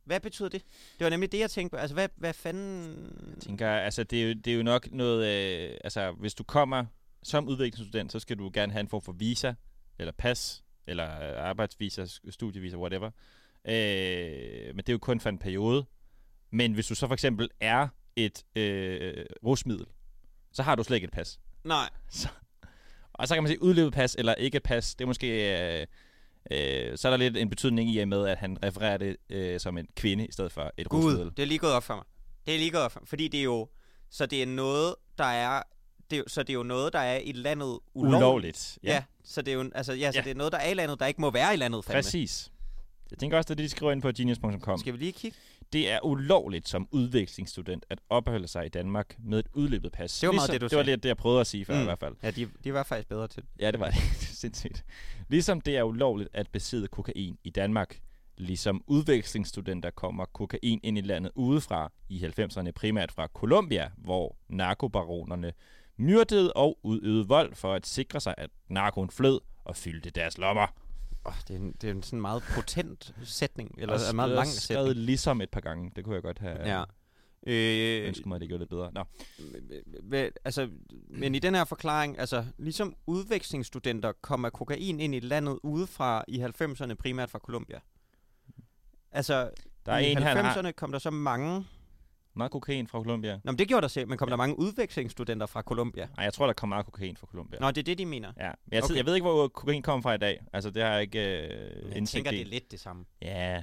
Speaker 3: hvad betyder det? Det var nemlig det, jeg tænkte på. Altså, hvad, hvad fanden...
Speaker 4: Jeg tænker, altså, det er jo, det er jo nok noget... Øh, altså, hvis du kommer som udviklingsstudent, så skal du gerne have en form for visa, eller pas, eller øh, arbejdsvisa, s- studievisa, whatever. Øh, men det er jo kun for en periode. Men hvis du så for eksempel er et øh, rusmiddel, så har du slet ikke et pas.
Speaker 3: Nej.
Speaker 4: Og så kan man sige udløbet pas eller ikke et pas. Det er måske... Øh, øh, så er der lidt en betydning i og med, at han refererer det øh, som en kvinde i stedet for et
Speaker 3: Gud,
Speaker 4: rusmiddel.
Speaker 3: det er lige gået op for mig. Det er lige gået op for mig. Fordi det er jo... Så det er noget, der er... Det, er jo- så det er jo noget, der er i landet ulovligt.
Speaker 4: Ulovligt.
Speaker 3: Ja. ja. Så, det er jo, altså, ja, så
Speaker 4: Ja.
Speaker 3: ja. det er noget, der er i landet, der ikke må være i landet. Fandme.
Speaker 4: Præcis. Jeg tænker også, at det, de skriver ind på genius.com.
Speaker 3: Skal vi lige kigge?
Speaker 4: Det er ulovligt som udvekslingsstudent at opholde sig i Danmark med et udløbet pas. Ligesom-
Speaker 3: Det var meget det, du
Speaker 4: det var
Speaker 3: sagde.
Speaker 4: lidt det, jeg prøvede at sige før mm.
Speaker 3: Mm.
Speaker 4: i hvert fald.
Speaker 3: Ja, de, de var faktisk bedre til det.
Speaker 4: Ja, det var det. Sindssygt. Ligesom det er ulovligt at besidde kokain i Danmark. Ligesom udvekslingsstudenter kommer kokain ind i landet udefra i 90'erne, primært fra Colombia, hvor narkobaronerne myrdede og udøvede vold for at sikre sig, at narkoen flød og fyldte deres lommer.
Speaker 3: Oh, det, er en, det er en sådan meget potent sætning, eller
Speaker 4: Og
Speaker 3: en meget
Speaker 4: jeg har
Speaker 3: lang
Speaker 4: skrevet
Speaker 3: sætning.
Speaker 4: ligesom et par gange. Det kunne jeg godt have
Speaker 3: Ja.
Speaker 4: ja.
Speaker 3: Øh,
Speaker 4: ønsket mig, at det gjorde lidt bedre. Nå.
Speaker 3: Vel, altså, men i den her forklaring, altså, ligesom udvekslingsstudenter kommer kokain ind i landet udefra i 90'erne, primært fra Colombia. Altså,
Speaker 4: Der er
Speaker 3: i
Speaker 4: en, han
Speaker 3: 90'erne
Speaker 4: har
Speaker 3: kom der så mange...
Speaker 4: meget kokain fra Colombia.
Speaker 3: Nå, men det gjorde der selv, men kom ja. der mange udvekslingsstudenter fra Colombia?
Speaker 4: Nej, jeg tror, der kom meget kokain fra Colombia.
Speaker 3: Nå, det er det, de mener.
Speaker 4: Ja, men jeg, okay.
Speaker 3: Okay.
Speaker 4: jeg ved ikke, hvor kokain kommer fra i dag. Altså, det har jeg ikke
Speaker 3: Men
Speaker 4: øh,
Speaker 3: Jeg
Speaker 4: indsigt
Speaker 3: tænker, det
Speaker 4: i.
Speaker 3: er lidt det samme.
Speaker 4: Ja,
Speaker 3: Det
Speaker 4: jeg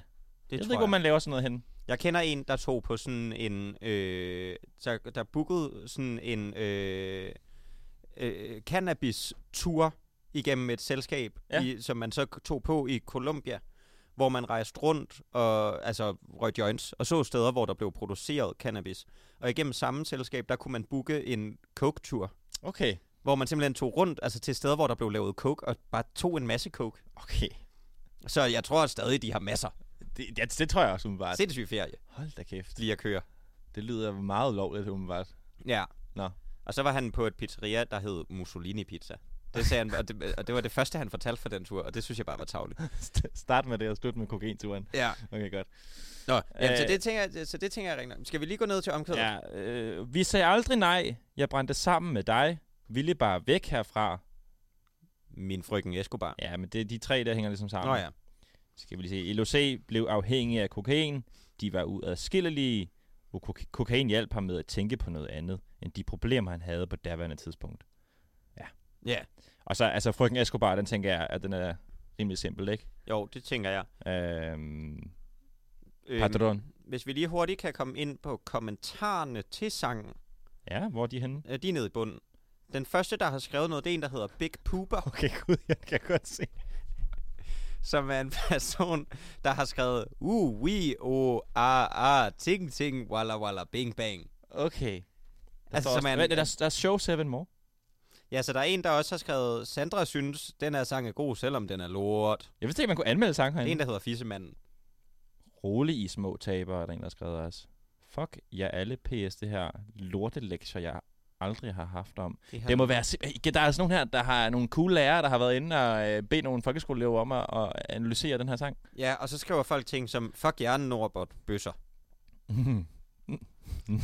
Speaker 3: tror
Speaker 4: ved ikke, hvor man laver sådan noget henne.
Speaker 3: Jeg kender en, der tog på sådan en... Øh, der, der bookede sådan en øh, øh, cannabis-tur igennem et selskab,
Speaker 4: Ja.
Speaker 3: ja. i, som man så tog på i Colombia, hvor man rejste rundt og altså, røg joints, og så steder, hvor der blev produceret cannabis. Og igennem samme selskab, der kunne man booke en coke-tur,
Speaker 4: Okay.
Speaker 3: hvor man simpelthen tog rundt altså til steder, hvor der blev lavet coke, og bare tog en masse coke.
Speaker 4: Okay.
Speaker 3: Så jeg tror stadig, de har masser.
Speaker 4: Det, det, det tror jeg også umiddelbart.
Speaker 3: Sindssyg ferie,
Speaker 4: Hold da kæft.
Speaker 3: lige at køre.
Speaker 4: Det lyder meget lovligt umiddelbart.
Speaker 3: Ja.
Speaker 4: Nå.
Speaker 3: Og så var han på et pizzeria, der hed Mussolini Pizza. Det sagde han, og det, og det var det første, han fortalte for den tur, og det synes jeg bare var tavligt.
Speaker 4: St- Start med det og slut med kokainturen.
Speaker 3: Ja.
Speaker 4: Okay, godt.
Speaker 3: Nå, jamen, så,
Speaker 4: Øh.
Speaker 3: det tænker jeg, så det tænker jeg rigtig nok. Skal vi lige gå ned til omklædet?
Speaker 4: Ja, øh, vi sagde aldrig nej. Jeg brændte sammen med dig. Ville bare væk herfra.
Speaker 3: Min frøken Escobar.
Speaker 4: Ja, men det er de tre, der hænger ligesom sammen.
Speaker 3: Nå ja.
Speaker 4: Skal vi lige se. LOC blev afhængig af kokain. De var uadskillelige. Og kok- kokain hjalp ham med at tænke på noget andet, end de problemer, han havde på daværende tidspunkt.
Speaker 3: Ja.
Speaker 4: Og så, altså, frøken Escobar, den tænker jeg, at den er rimelig simpel, ikke?
Speaker 3: Jo, det tænker jeg.
Speaker 4: Øhm,
Speaker 3: Øhm,
Speaker 4: Padron.
Speaker 3: hvis vi lige hurtigt kan komme ind på kommentarerne til sangen.
Speaker 4: Ja, hvor er de henne?
Speaker 3: Øh, de er nede i bunden. Den første, der har skrevet noget, det er en, der hedder Big Pooper,
Speaker 4: Okay, gud, jeg kan godt se.
Speaker 3: som er en person, der har skrevet Uh, we, oh, ah, ah, ting, ting, walla, walla, bing, bang.
Speaker 4: Okay. Der
Speaker 3: Altså, som
Speaker 4: altså,
Speaker 3: er
Speaker 4: også,
Speaker 3: en-
Speaker 4: Vent, der, er- der er show seven more.
Speaker 3: Ja, så der er en, der også har skrevet, Sandra synes, den her sang er god, selvom den er lort.
Speaker 4: Jeg vidste ikke, man kunne anmelde sang
Speaker 3: Det er en,
Speaker 4: herinde.
Speaker 3: der hedder Fissemanden.
Speaker 4: Rolig i små tabere, er der en, der har skrevet også. Fuck jer alle PS, det her lortelektier, jeg aldrig har haft om. Det må være... simp- Ikke, Der er altså nogen her, der har nogle cool lærere, der har været inde og øh, bedt nogle folkeskoleelever om at, at analysere den her sang.
Speaker 3: Ja, og så skriver folk ting som, fuck hjernen, Norbert, bøsser.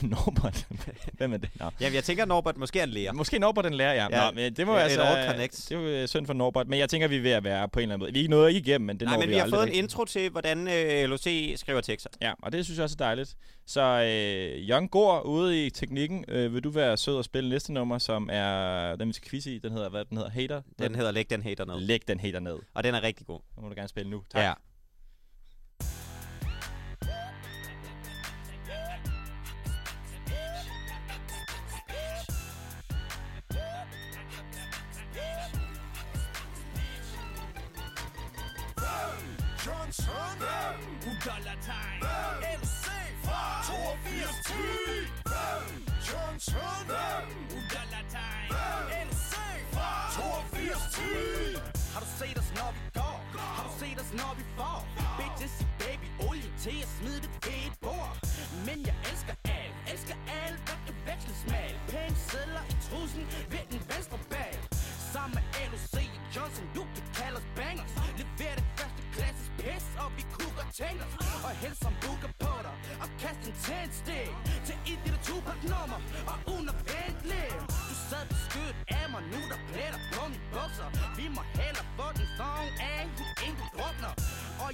Speaker 4: Norbert. Hvem er det? Nå.
Speaker 3: Ja, jeg tænker, Norbert måske er en lærer.
Speaker 4: Måske Norbert den lærer, ja. ja.
Speaker 3: Ja,
Speaker 4: Nå, men det var
Speaker 3: et
Speaker 4: altså...
Speaker 3: overconnect.
Speaker 4: Det var øh, synd for Norbert, men jeg tænker, vi er ved at være på en eller anden måde. Vi er ikke nået ikke igennem, men det
Speaker 3: Nej,
Speaker 4: når
Speaker 3: men vi,
Speaker 4: vi
Speaker 3: har
Speaker 4: aldrig
Speaker 3: fået en
Speaker 4: rigtigt.
Speaker 3: intro til, hvordan øh, LOC skriver tekster.
Speaker 4: Ja, og det synes jeg også er dejligt. Så øh, Jørgen Gård ude i teknikken, øh, vil du være sød og spille næste nummer, som er den, vi skal quiz i. Den hedder, hvad den hedder, Hater?
Speaker 3: Den hedder Læg den hater ned.
Speaker 4: Læg den hater ned.
Speaker 3: Og den er rigtig god.
Speaker 4: Den må du gerne spille nu. Tak.
Speaker 3: Ja.
Speaker 5: Johnson Udollertegn MC 8210 Johnson Udollertegn MC 8210
Speaker 7: Har du set os, når vi går? Har du set os, når vi får? Bitches i baby olie til at smide det ved et bord. Men jeg elsker alt, elsker alt, der kan veksles mal. Pæne sædler i trusen ved den venstre bag. Sammen med LOC og Johnson, du kan kalde os bangers. Lever det første klasses pis, og vi kukker tænker. Og helst som booker på dig, og kast en tændstik. Til et lille Tupac nummer, og under Bentley. Du sad på skødet af mig, nu er der for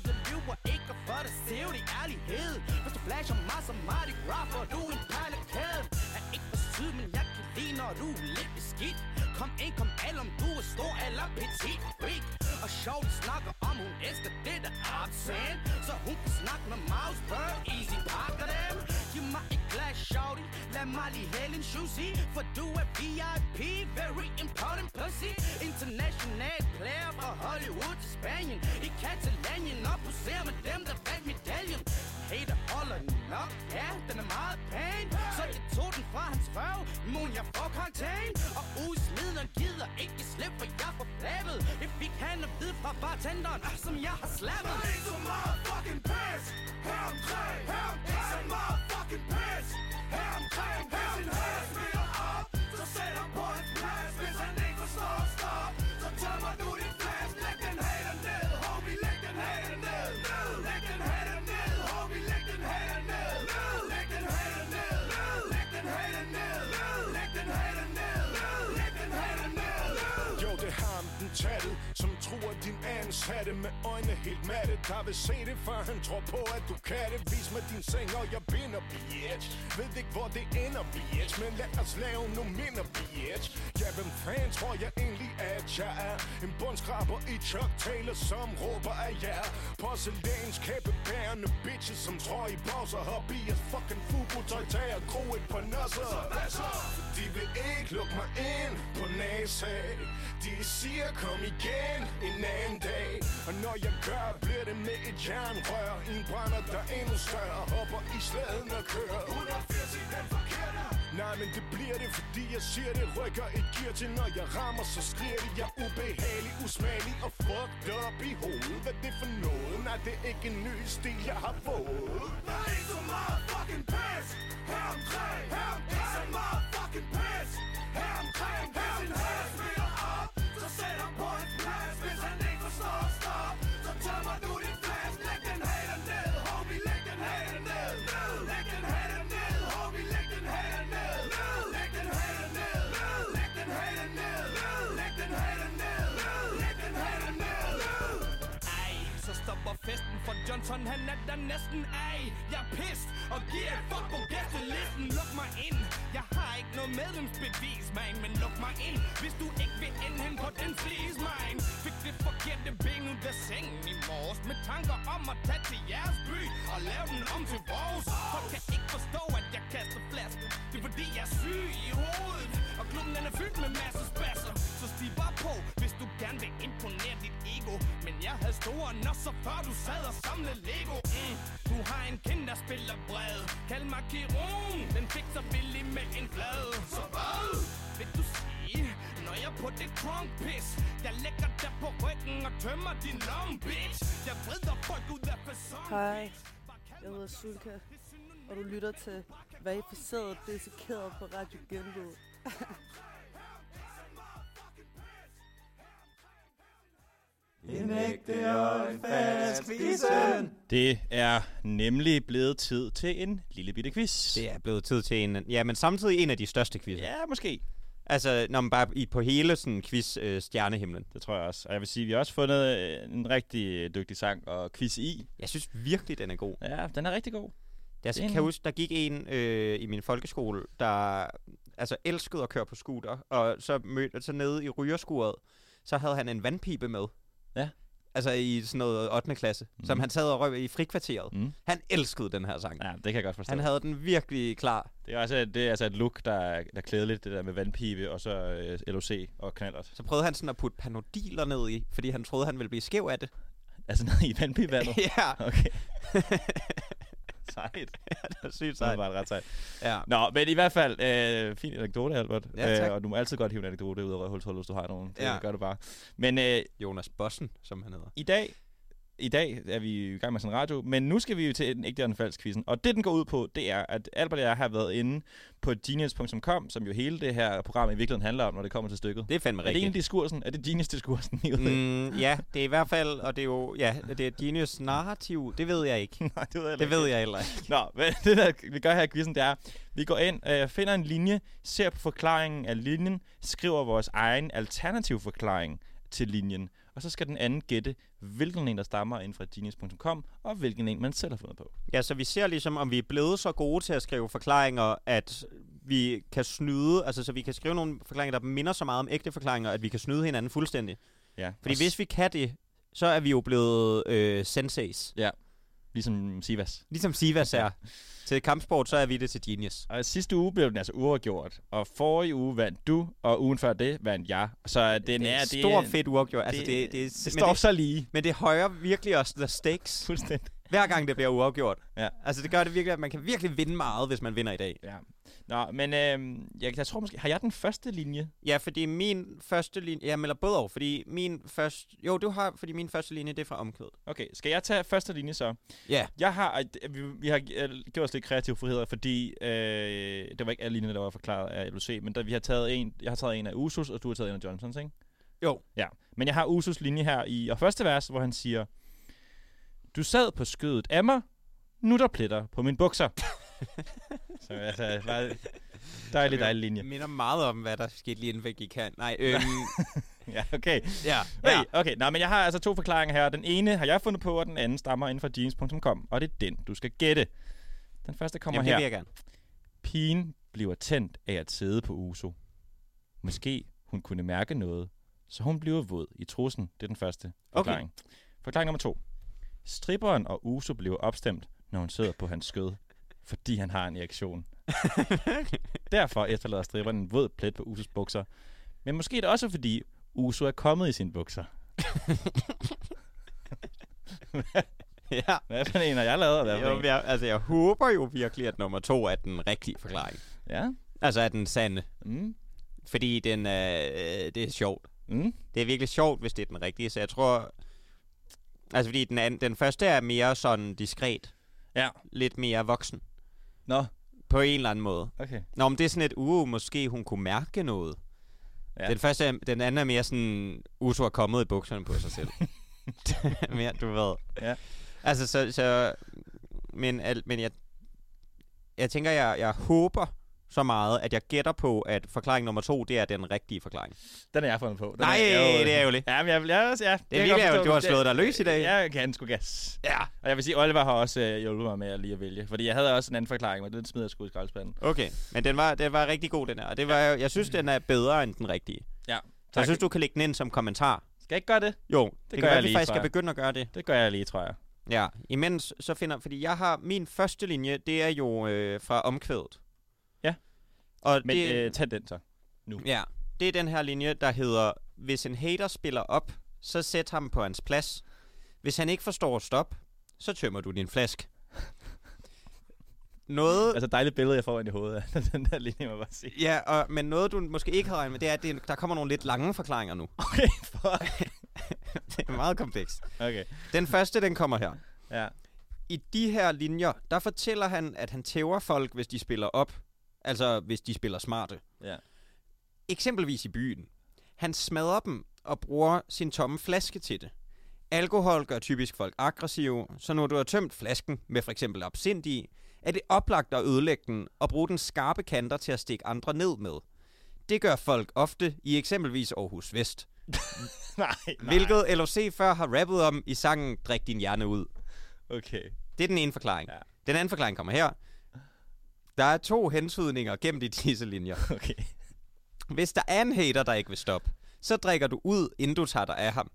Speaker 7: dig selv, det er ærlighed Hvis du flasher mig som Mardi Gras, får du en perlekæde Er ikke for syd, men jeg kan lide, når du er lidt beskidt Kom ind, kom al, om du er stor eller petit freak Og sjov, vi snakker om, hun elsker det der absent Så hun kan snakke med Mouse Bird, easy pakker dem Giv mig et glas, shorty, lad mig lige hælde en juicy For du er VIP, very important pussy International player fra Hollywood til Spanien I Katalonien og poserer med dem, der vandt medaljen Hater holder den nok, ja, den er meget pæn Så jeg tog den fra hans røv, men jeg får karantæne Og udsmideren gider ikke slippe, for jeg får flabet Det fik han at vide fra bartenderen, ah, som jeg har slappet
Speaker 5: Ain't so motherfucking pissed. Her omkring, her omkring. Så motherfucking pissed. Her omkring, her omkring. Hvis en hest spiller op, så sæt ham på en plads. Hvis han ikke forstår at stoppe, så tømmer du din flaske. Læg den hater ned, homie. Læg den hater ned, ned. Læg den hater ned, homie. Læg den hater ned, ned. Læg den hater ned, ned. Læg den hater ned, ned. Læg den hater ned, ned. Læg den hater ned, ned. Jo, det har ham den tatte, som tror din ansatte med øjne helt matte, der vil se det, før han tror på, at du kan det. Vis mig din seng, og jeg binder, bitch. Ved ikke, hvor det ender, bitch, men lad os lave nu minder, bitch. Ja, hvem fanden tror jeg egentlig, at jeg er? En bundskraber i Chuck Taylor, som råber af jer. Porcelæns kæbebærende bitches, som tror i pauser, hop i jeres fucking fugotøj, tag og gro et par nasser. Så hvad så? De vil ikke lukke mig ind på NASA. De siger kom igen en anden dag Og når jeg gør, bliver det med et jernrør I en brænder, der er endnu større Hopper i sladen og kører 180 i den forkerte Nej, men det bliver det, fordi jeg siger det Rykker et gear til, når jeg rammer Så skriger det, jeg er ubehagelig, usmagelig Og fucked up i hovedet Hvad er det for noget? Nej, det er ikke en ny stil, jeg har fået Der er ikke så meget fucking pis Her omkring, her omkring Ikke så meget fucking pis Her omkring, her omkring Hvis en hest spiller op så sæt ham på en plads Hvis han ikke forstår at stoppe Så tømmer du din flaske Læg den hater ned, homie Læg den hater ned, ned Læg den hater ned, homie Læg den hater ned, ned Læg den hater ned, ned Læg den hater ned, ned Læg den hater ned, ned Læg den hater ned, ned
Speaker 7: Ej, så stopper festen For Johnson han er der næsten Ej, jeg er pissed Og giver et fuck på gæstelisten Luk mig ind Jeg har ikke noget medlemsbevis, man Men luk mig ind Hvis du ikke vil ind hen på den flis, man Fik det forkerte ben ud af sengen i morges Med tanker om at tage til jeres by Og lave den om til vores Folk kan ikke forstå, at jeg kaster flasker Det er fordi, jeg er syg i hovedet Og klubben den er fyldt med masser spasser Så stiv bare på, hvis du gerne vil imponere dit ego Men jeg havde store nosser, før du sad og samlede Lego mm. Du har en kind, der spiller bred Kald mig kirurgen, den fik så billig med en flade Så hvad vil du sige, når jeg er på det drunk piss? Jeg lægger dig på ryggen og tømmer din lomme, bitch Jeg vrider folk ud af person
Speaker 8: Hej, jeg hedder Sulka, og du lytter til Verificeret Dissekeret på Radio Genlyd.
Speaker 9: En ægte og en fast quizzen.
Speaker 4: Det er nemlig blevet tid til en lille bitte quiz.
Speaker 3: Det er blevet tid til en... Ja, men samtidig en af de største quizzer.
Speaker 4: Ja, måske.
Speaker 3: Altså, når man bare i, på hele sådan quiz øh, stjernehimlen.
Speaker 4: Det tror jeg også. Og jeg vil sige, at vi har også fundet øh, en rigtig øh, dygtig sang og quiz i.
Speaker 3: Jeg synes virkelig, den er god.
Speaker 4: Ja, den er rigtig god.
Speaker 3: Jeg
Speaker 4: er
Speaker 3: kan
Speaker 4: en-
Speaker 3: jeg huske, der gik en øh, i min folkeskole, der altså elskede at køre på scooter, og så, mødte, så nede i rygerskuret, så havde han en vandpipe med.
Speaker 4: Ja.
Speaker 3: Altså i sådan noget 8. klasse, mm. som han sad og røg i frikvarteret.
Speaker 4: Mm.
Speaker 3: Han elskede den her sang.
Speaker 4: Ja, det kan jeg godt forstå.
Speaker 3: Han havde den virkelig klar.
Speaker 4: Det er, altså, det er altså et look, der er, der er klædeligt, det der med vandpibe og så øh, LOC og knallert.
Speaker 3: Så prøvede han sådan at putte panodiler ned i, fordi han troede, han ville blive skæv af det.
Speaker 4: Altså ned i vandpibevandet.
Speaker 3: ja,
Speaker 4: Okay. sejt.
Speaker 3: det var sygt
Speaker 4: Det
Speaker 3: sejt.
Speaker 4: var ret sejt.
Speaker 3: Ja.
Speaker 4: Nå, men i hvert fald, øh, fin anekdote, Albert. Øh,
Speaker 3: Ja, tak.
Speaker 4: og du må altid godt hive en anekdote ud af rødhulshullet, hvis du har nogen. Det
Speaker 3: Ja.
Speaker 4: gør du bare. Men øh,
Speaker 3: Jonas Bossen, som han hedder.
Speaker 4: i dag, i dag er vi i gang med sådan en radio, men nu skal vi jo til den ægte og den falsk quizzen. Og det, den går ud på, det er, at Albert og jeg har været inde på genius.com, som jo hele det her program i virkeligheden handler om, når det kommer til stykket.
Speaker 3: Det er fandme
Speaker 4: er det
Speaker 3: rigtigt.
Speaker 4: egentlig diskursen? Er det genius-diskursen? I ved?
Speaker 3: Mm, ja, det er i hvert fald, og det er jo, ja, det er Genius narrativ, det ved jeg ikke.
Speaker 4: Nej, det ved jeg
Speaker 3: Det ved jeg heller ikke.
Speaker 4: Nå, men det der, vi gør her i quizzen, det er, vi går ind, øh, finder en linje, ser på forklaringen af linjen, skriver vores egen alternativ forklaring til linjen, og så skal den anden gætte, hvilken en, der stammer ind fra genius.com, og hvilken en, man selv har fundet på.
Speaker 3: Ja, så vi ser ligesom, om vi er blevet så gode til at skrive forklaringer, at vi kan snyde, altså så vi kan skrive nogle forklaringer, der minder så meget om ægte forklaringer, at vi kan snyde hinanden fuldstændig.
Speaker 4: Ja,
Speaker 3: Fordi
Speaker 4: og s-
Speaker 3: hvis vi kan det, så er vi jo blevet øh, senseis.
Speaker 4: Ligesom Sivas.
Speaker 3: Ligesom Sivas er. til kampsport, så er vi det til genius.
Speaker 4: Og sidste uge blev den altså uafgjort, og forrige uge vandt du, og ugen før det vandt jeg. Så den
Speaker 3: det er
Speaker 4: er...
Speaker 3: en
Speaker 4: det
Speaker 3: stor
Speaker 4: er-
Speaker 3: fedt uafgjort. Altså, det, det, det,
Speaker 4: det
Speaker 3: men,
Speaker 4: står
Speaker 3: det,
Speaker 4: så lige.
Speaker 3: men det højer virkelig også the stakes,
Speaker 4: Fuldstændig.
Speaker 3: hver gang det bliver uafgjort.
Speaker 4: Ja.
Speaker 3: Altså det gør det virkelig, at man kan virkelig vinde meget, hvis man vinder i dag.
Speaker 4: Ja. Nå, men øh, jeg, jeg tror måske... Har jeg den første linje?
Speaker 3: Ja, fordi min første linje... Ja, men eller både over, fordi min første... Jo, du har, fordi min første linje, det er fra omkvædet.
Speaker 4: Okay, skal jeg tage første linje så?
Speaker 3: Ja.
Speaker 4: Jeg har, at vi, vi har øh, gjort os lidt kreative friheder, fordi øh, det var ikke alle linjer, der var forklaret af LOC, men der, vi har taget en, jeg har taget en af Usus, og du har taget en af Johnsons, ikke?
Speaker 3: Jo.
Speaker 4: Ja, men jeg har Usus linje her i og første vers, hvor han siger, Du sad på skødet af mig, nu er der pletter på mine bukser. Så altså, bare dejlig, dejlig linje.
Speaker 3: Jeg minder meget om, hvad der skete lige inden vi gik her. Nej, øhm,
Speaker 4: Ja, okay.
Speaker 3: ja.
Speaker 4: Hey,
Speaker 3: ja.
Speaker 4: okay, nej, men jeg har altså to forklaringer her. Den ene har jeg fundet på, og den anden stammer inden fra jeans.com, og det er den, du skal gætte. Den første kommer
Speaker 3: Jamen,
Speaker 4: her.
Speaker 3: det vil jeg gerne.
Speaker 4: Pigen bliver tændt af at sidde på Uso. Måske hun kunne mærke noget, så hun bliver våd i trussen. Det er den første forklaring. Okay. Forklaring nummer to. Stripperen og Uso bliver opstemt, når hun sidder på hans skød, fordi han har en erektion. Derfor efterlader stripperen en våd plet på Usos bukser. Men måske er det også fordi, Uso er kommet i sine bukser.
Speaker 3: ja.
Speaker 4: Hvad for en har jeg lavet? og Hvad for
Speaker 3: Jo,
Speaker 4: en?
Speaker 3: jeg, altså, jeg håber jo virkelig, at nummer to er den rigtige forklaring.
Speaker 4: Ja.
Speaker 3: Altså, er den sande.
Speaker 4: Mm.
Speaker 3: Fordi den, øh, øh, det er sjovt.
Speaker 4: Mm.
Speaker 3: Det er virkelig sjovt, hvis det er den rigtige, så jeg tror... Altså, fordi den, anden, den første er mere sådan diskret.
Speaker 4: Ja.
Speaker 3: Lidt mere voksen.
Speaker 4: Nå,
Speaker 3: På en eller anden måde.
Speaker 4: okay.
Speaker 3: Nå, men det er sådan et, uh, måske hun kunne mærke noget.
Speaker 4: Ja.
Speaker 3: Ja. Den, første, er- den anden er mere sådan, Uso er kommet i bukserne på sig selv. Det er mere, du ved.
Speaker 4: Ja.
Speaker 3: Altså, så, så men, al, men jeg, jeg tænker, jeg, jeg håber så meget, at jeg gætter på, at forklaring nummer to, det er den rigtige forklaring.
Speaker 4: Den er jeg fundet på. Den
Speaker 3: Nej,
Speaker 4: jeg
Speaker 3: det er ærgerligt.
Speaker 4: Ja, men jeg, jeg, jeg, jeg,
Speaker 3: Det er virkelig ærgerligt, du har slået dig løs i dag.
Speaker 4: Jeg kan sgu gas.
Speaker 3: Ja.
Speaker 4: Og jeg vil sige, Oliver har også øh, hjulpet mig med at lige at vælge. Fordi jeg havde også en anden forklaring, men den smider jeg sgu i skraldespanden.
Speaker 3: Okay, men den var, den var rigtig god, den her. Og det var, jeg synes, den er bedre end den rigtige.
Speaker 4: Ja,
Speaker 3: Så
Speaker 4: tak.
Speaker 3: jeg synes, du kan lægge den ind som kommentar.
Speaker 4: Skal jeg ikke gøre det?
Speaker 3: Jo, det, det
Speaker 4: gør
Speaker 3: kan være,
Speaker 4: jeg
Speaker 3: at vi
Speaker 4: lige,
Speaker 3: faktisk
Speaker 4: tror
Speaker 3: skal
Speaker 4: jeg.
Speaker 3: begynde at gøre det.
Speaker 4: Det gør jeg lige, tror jeg.
Speaker 3: Ja, imens så finder... Fordi jeg har... Min første linje, det er jo øh, fra omkvædet.
Speaker 4: Ja.
Speaker 3: Og
Speaker 4: Men
Speaker 3: det,
Speaker 4: øh, tag den så.
Speaker 3: ja, det er den her linje, der hedder... Hvis en hater spiller op, så sæt ham på hans plads. Hvis han ikke forstår at stoppe, så tømmer du din flask. Noget...
Speaker 4: Altså dejligt billede, jeg får ind i hovedet af den der linje, må jeg bare sige.
Speaker 3: Ja, og, men noget, du måske ikke havde regnet med, det er, at det, der kommer nogle lidt lange forklaringer nu.
Speaker 4: Okay, fuck.
Speaker 3: Det er meget komplekst.
Speaker 4: Okay,
Speaker 3: Den første, den kommer her.
Speaker 4: ja.
Speaker 3: i de her linjer, der fortæller han, at han tæver folk, hvis de spiller op. Altså, hvis de spiller smarte.
Speaker 4: Ja.
Speaker 3: Eksempelvis i byen. Han smadrer dem og bruger sin tomme flaske til det. Alkohol gør typisk folk aggressive, så når du har tømt flasken med for eksempel absint i, er det oplagt at ødelægge den og bruge den skarpe kanter til at stikke andre ned med. Det gør folk ofte i eksempelvis Aarhus Vest,
Speaker 4: Nej, nej.
Speaker 3: hvilket LOC før har rappet om i sangen Drik din hjerne ud.
Speaker 4: Okay.
Speaker 3: Det er den ene forklaring.
Speaker 4: Ja.
Speaker 3: Ja. Den anden forklaring kommer her. Der er to hensydninger gennem de disse linjer.
Speaker 4: Okay.
Speaker 3: Hvis der er en hater, der ikke vil stoppe, så drikker du ud, inden du tager dig af ham.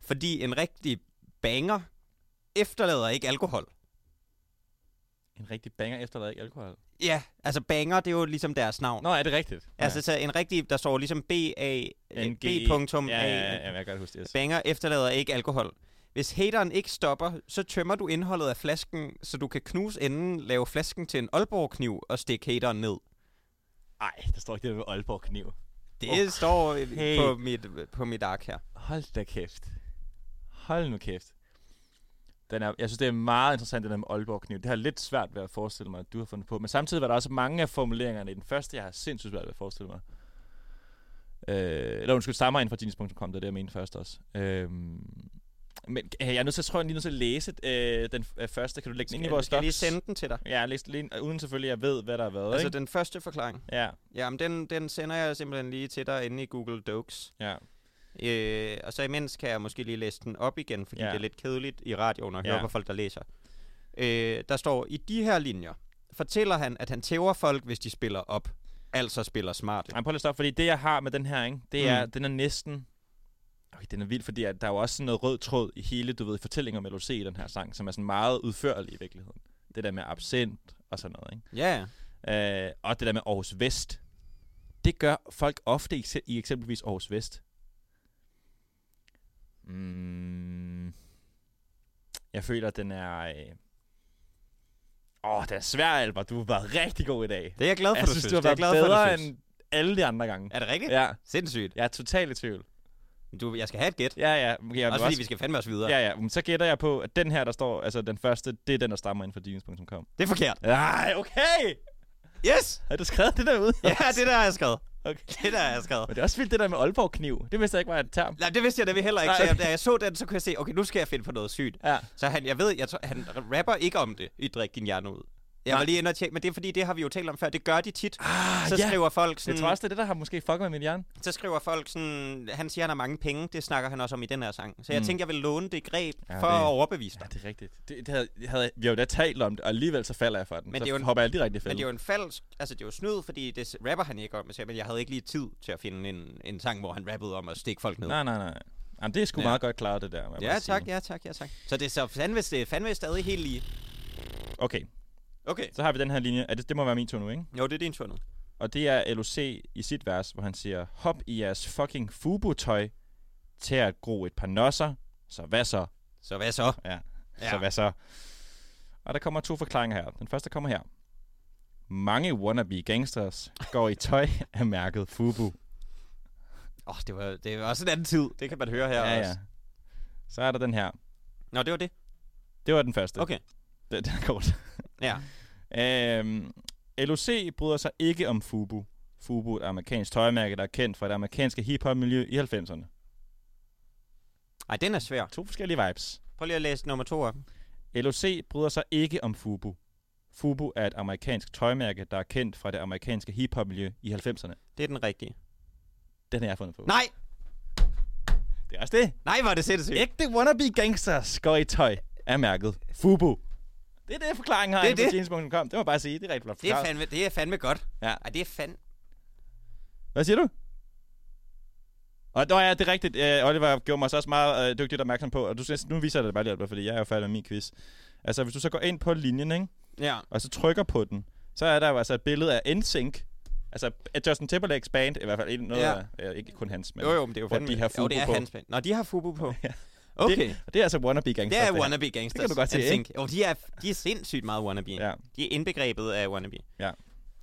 Speaker 3: Fordi en rigtig banger efterlader ikke alkohol.
Speaker 4: En rigtig banger efter, der er ikke alkohol.
Speaker 3: Ja, altså banger, det er jo ligesom deres navn.
Speaker 4: Nå, er det rigtigt?
Speaker 3: Altså så en rigtig, der står ligesom B A
Speaker 4: ja. NG.
Speaker 3: B punktum
Speaker 4: E. Ja, ja,
Speaker 3: A.
Speaker 4: ja, ja, jeg kan godt huske det. Yes.
Speaker 3: Banger efterlader ikke alkohol. Hvis hateren ikke stopper, så tømmer du indholdet af flasken, så du kan knuse enden, lave flasken til en Aalborg-kniv og stikke hateren ned.
Speaker 4: Ej, der står ikke det der med Aalborg kniv.
Speaker 3: Det oh, står øh,
Speaker 4: hey.
Speaker 3: på, mit, på mit ark her.
Speaker 4: Hold da kæft. Hold nu kæft. Den er, jeg synes, det er meget interessant, det der med Aalborg kniv. Det har jeg lidt svært ved at forestille mig, at du har fundet på. Men samtidig var der også mange af formuleringerne i den første, jeg har sindssygt svært ved at forestille mig. Øh, eller undskyld, stammer ind fra genius.com, det er det, jeg mente først også. Øh, men øh, jeg er nødt til, jeg tror, jeg er lige nødt til at læse øh, den øh, første. Kan du lægge den ind i vores
Speaker 3: skal jeg lige
Speaker 4: docs?
Speaker 3: sende den til dig?
Speaker 4: Ja, læs, lige, uden selvfølgelig, at jeg ved, hvad der har været,
Speaker 3: Altså
Speaker 4: ikke?
Speaker 3: den første forklaring.
Speaker 4: Ja,
Speaker 3: Jamen, den, den sender jeg simpelthen lige til dig inde i Google Docs.
Speaker 4: ja.
Speaker 3: Øh, og så imens kan jeg måske lige læse den op igen, fordi
Speaker 4: Ja.
Speaker 3: ja. det er lidt kedeligt i radioen at høre
Speaker 4: Ja.
Speaker 3: ja. på folk, der læser. Øh, der står, i de her linjer fortæller han, at han tæver folk, hvis de spiller op. Altså spiller smart.
Speaker 4: Nej, prøv lige at stoppe, fordi det, jeg har med den her, ikke, det er,
Speaker 3: Mm.
Speaker 4: den er næsten... Okay, den er vild, fordi at der er jo også sådan noget rød tråd i hele, du ved, fortællingen om LOC i den her sang, som er sådan meget udførlig i virkeligheden. Det der med absent og sådan noget,
Speaker 3: Ja,
Speaker 4: ikke? Øh, og det der med Aarhus Vest. Det gør folk ofte i, ekse- i eksempelvis Aarhus Vest. Mm. Jeg føler, at den er... øh, Åh, øh... den er svær, Albert. Du har været rigtig god i dag.
Speaker 3: det er jeg glad for,
Speaker 4: Jeg
Speaker 3: du
Speaker 4: synes,
Speaker 3: synes.
Speaker 4: du har
Speaker 3: Det er jeg
Speaker 4: været
Speaker 3: glad for,
Speaker 4: bedre
Speaker 3: du synes.
Speaker 4: end alle de andre gange.
Speaker 3: Er det rigtigt? Ja.
Speaker 4: Ja,
Speaker 3: Sindssygt.
Speaker 4: jeg er totalt i tvivl.
Speaker 3: Du, jeg skal have et gæt.
Speaker 4: Ja, ja. men Jeg vil
Speaker 3: Også fordi vi skal fandme os videre. Ja.
Speaker 4: Ja, ja. men Så gætter jeg på, at den her, der står, altså den første, det er den, der stammer ind fra jeans.com.
Speaker 3: Det er forkert.
Speaker 4: Ej, okay!
Speaker 3: Yes!
Speaker 4: Har du skrevet det derude?
Speaker 3: Ja, det der har jeg skrevet.
Speaker 4: Okay.
Speaker 3: Det der har jeg skrevet.
Speaker 4: Men det er også vildt, det der med Aalborg-kniv. Det vidste jeg ikke var et term.
Speaker 3: Nej, det vidste jeg nemlig heller ikke.
Speaker 4: Nej,
Speaker 3: Så jeg,
Speaker 4: okay.
Speaker 3: da jeg så den, så kunne jeg se, okay, nu skal jeg finde på noget sygt.
Speaker 4: Ja.
Speaker 3: Så han, jeg ved, jeg tror, han rapper ikke om det i Drik din hjerne ud. Jeg
Speaker 4: Nej.
Speaker 3: var lige inde og tjekke, men det er fordi, det har vi jo talt om før. Det gør de tit.
Speaker 4: Ah,
Speaker 3: Så skriver folk sådan,
Speaker 4: Jeg tror også, det er det, der har måske fucket med min hjerne.
Speaker 3: så skriver folk sådan, han siger, han har mange penge. Det snakker han også om i den her sang. Så jeg
Speaker 4: Mm.
Speaker 3: tænkte, jeg vil låne det greb
Speaker 4: Ja,
Speaker 3: ja, for
Speaker 4: det-
Speaker 3: det... at overbevise dig.
Speaker 4: det er rigtigt. Det, det havde, det havde, vi har jo da talt om det, og alligevel så falder jeg for den.
Speaker 3: Men
Speaker 4: så
Speaker 3: det er jo en-
Speaker 4: hopper jeg direkte i
Speaker 3: Men det er jo
Speaker 4: fælden.
Speaker 3: en falsk, altså det er jo snyd, fordi det s- rapper han ikke om. Så jeg- Men jeg havde ikke lige tid til at finde en, en sang, hvor han rappede om at stikke folk ned.
Speaker 4: Nej, nej, nej. Jamen, det er sgu
Speaker 3: Ja.
Speaker 4: meget godt klaret, det der. må jeg
Speaker 3: ja
Speaker 4: bare
Speaker 3: tak,
Speaker 4: sige.
Speaker 3: ja tak, ja tak. Så det er så fandme, det er fandme stadig helt lige.
Speaker 4: Okay,
Speaker 3: Okay.
Speaker 4: så har vi den her linje. Er det, det må være min tur nu, ikke?
Speaker 3: Jo, det er din tur nu.
Speaker 4: Og det er LOC i sit vers, hvor han siger, hop i jeres fucking fubu-tøj, til at gro et par nosser, så hvad så?
Speaker 3: Så hvad så?
Speaker 4: Ja. ja.
Speaker 3: Ja.
Speaker 4: Så hvad så? Og der kommer to forklaringer her. Den første kommer her. Mange wannabe gangsters går i tøj af mærket Fubu.
Speaker 3: Åh, oh, det, var, det var også en anden tid. Det kan man høre her
Speaker 4: Ja, ja.
Speaker 3: også.
Speaker 4: Så er der den her.
Speaker 3: Nå, det var det.
Speaker 4: Det var den første.
Speaker 3: Okay.
Speaker 4: Den, den er kort.
Speaker 3: Ja.
Speaker 4: Øhm, LOC bryder sig ikke om Fubu. Fubu er et amerikansk tøjmærke, der er kendt fra det amerikanske hiphop-miljø i 90'erne.
Speaker 3: Ej, den er svær.
Speaker 4: To forskellige vibes.
Speaker 3: Prøv lige at læse nummer to op.
Speaker 4: LOC bryder sig ikke om Fubu. Fubu er et amerikansk tøjmærke, der er kendt fra det amerikanske hiphop-miljø i 90'erne.
Speaker 3: Det er den rigtige.
Speaker 4: Den har jeg fundet på.
Speaker 3: Nej!
Speaker 4: Det er også det.
Speaker 3: Nej, hvor er det sindssygt.
Speaker 4: Ægte wannabe gangsters går i tøj af mærket Fubu. Det er det, forklaringen har
Speaker 3: Det er
Speaker 4: inde
Speaker 3: det.
Speaker 4: på jeans.com. Det må jeg bare sige. Det er rigtig flot
Speaker 3: Det er,
Speaker 4: forklaret.
Speaker 3: fandme, det er fandme godt.
Speaker 4: Ja.
Speaker 3: Ej, det er fandme...
Speaker 4: Hvad siger du? Og nå ja, det er rigtigt. Øh, Oliver gjorde mig så også meget øh, dygtigt opmærksom på, og du, synes- nu viser jeg det bare lige, Oliver, fordi jeg er jo færdig med min quiz. Altså, hvis du så går ind på linjen, ikke?
Speaker 3: Ja.
Speaker 4: og så trykker på den, så er der jo altså et billede af NSYNC. Altså af Justin Timberlake's band, i hvert fald en- noget
Speaker 3: Ja.
Speaker 4: af, øh, ikke kun hans, men
Speaker 3: Jo, jo, men det er jo
Speaker 4: hvor
Speaker 3: fandme...
Speaker 4: de har
Speaker 3: jo,
Speaker 4: fubu
Speaker 3: det er
Speaker 4: på.
Speaker 3: hans band. Nå, de har fubu på.
Speaker 4: Ja.
Speaker 3: Okay. Det,
Speaker 4: Det, det er altså wannabe gangsters.
Speaker 3: det er
Speaker 4: her.
Speaker 3: wannabe gangsters.
Speaker 4: Det kan du godt se,
Speaker 3: jeg
Speaker 4: ikke?
Speaker 3: tænker. Jo, de er, de er sindssygt meget wannabe.
Speaker 4: Ja.
Speaker 3: De er indbegrebet af wannabe.
Speaker 4: Ja.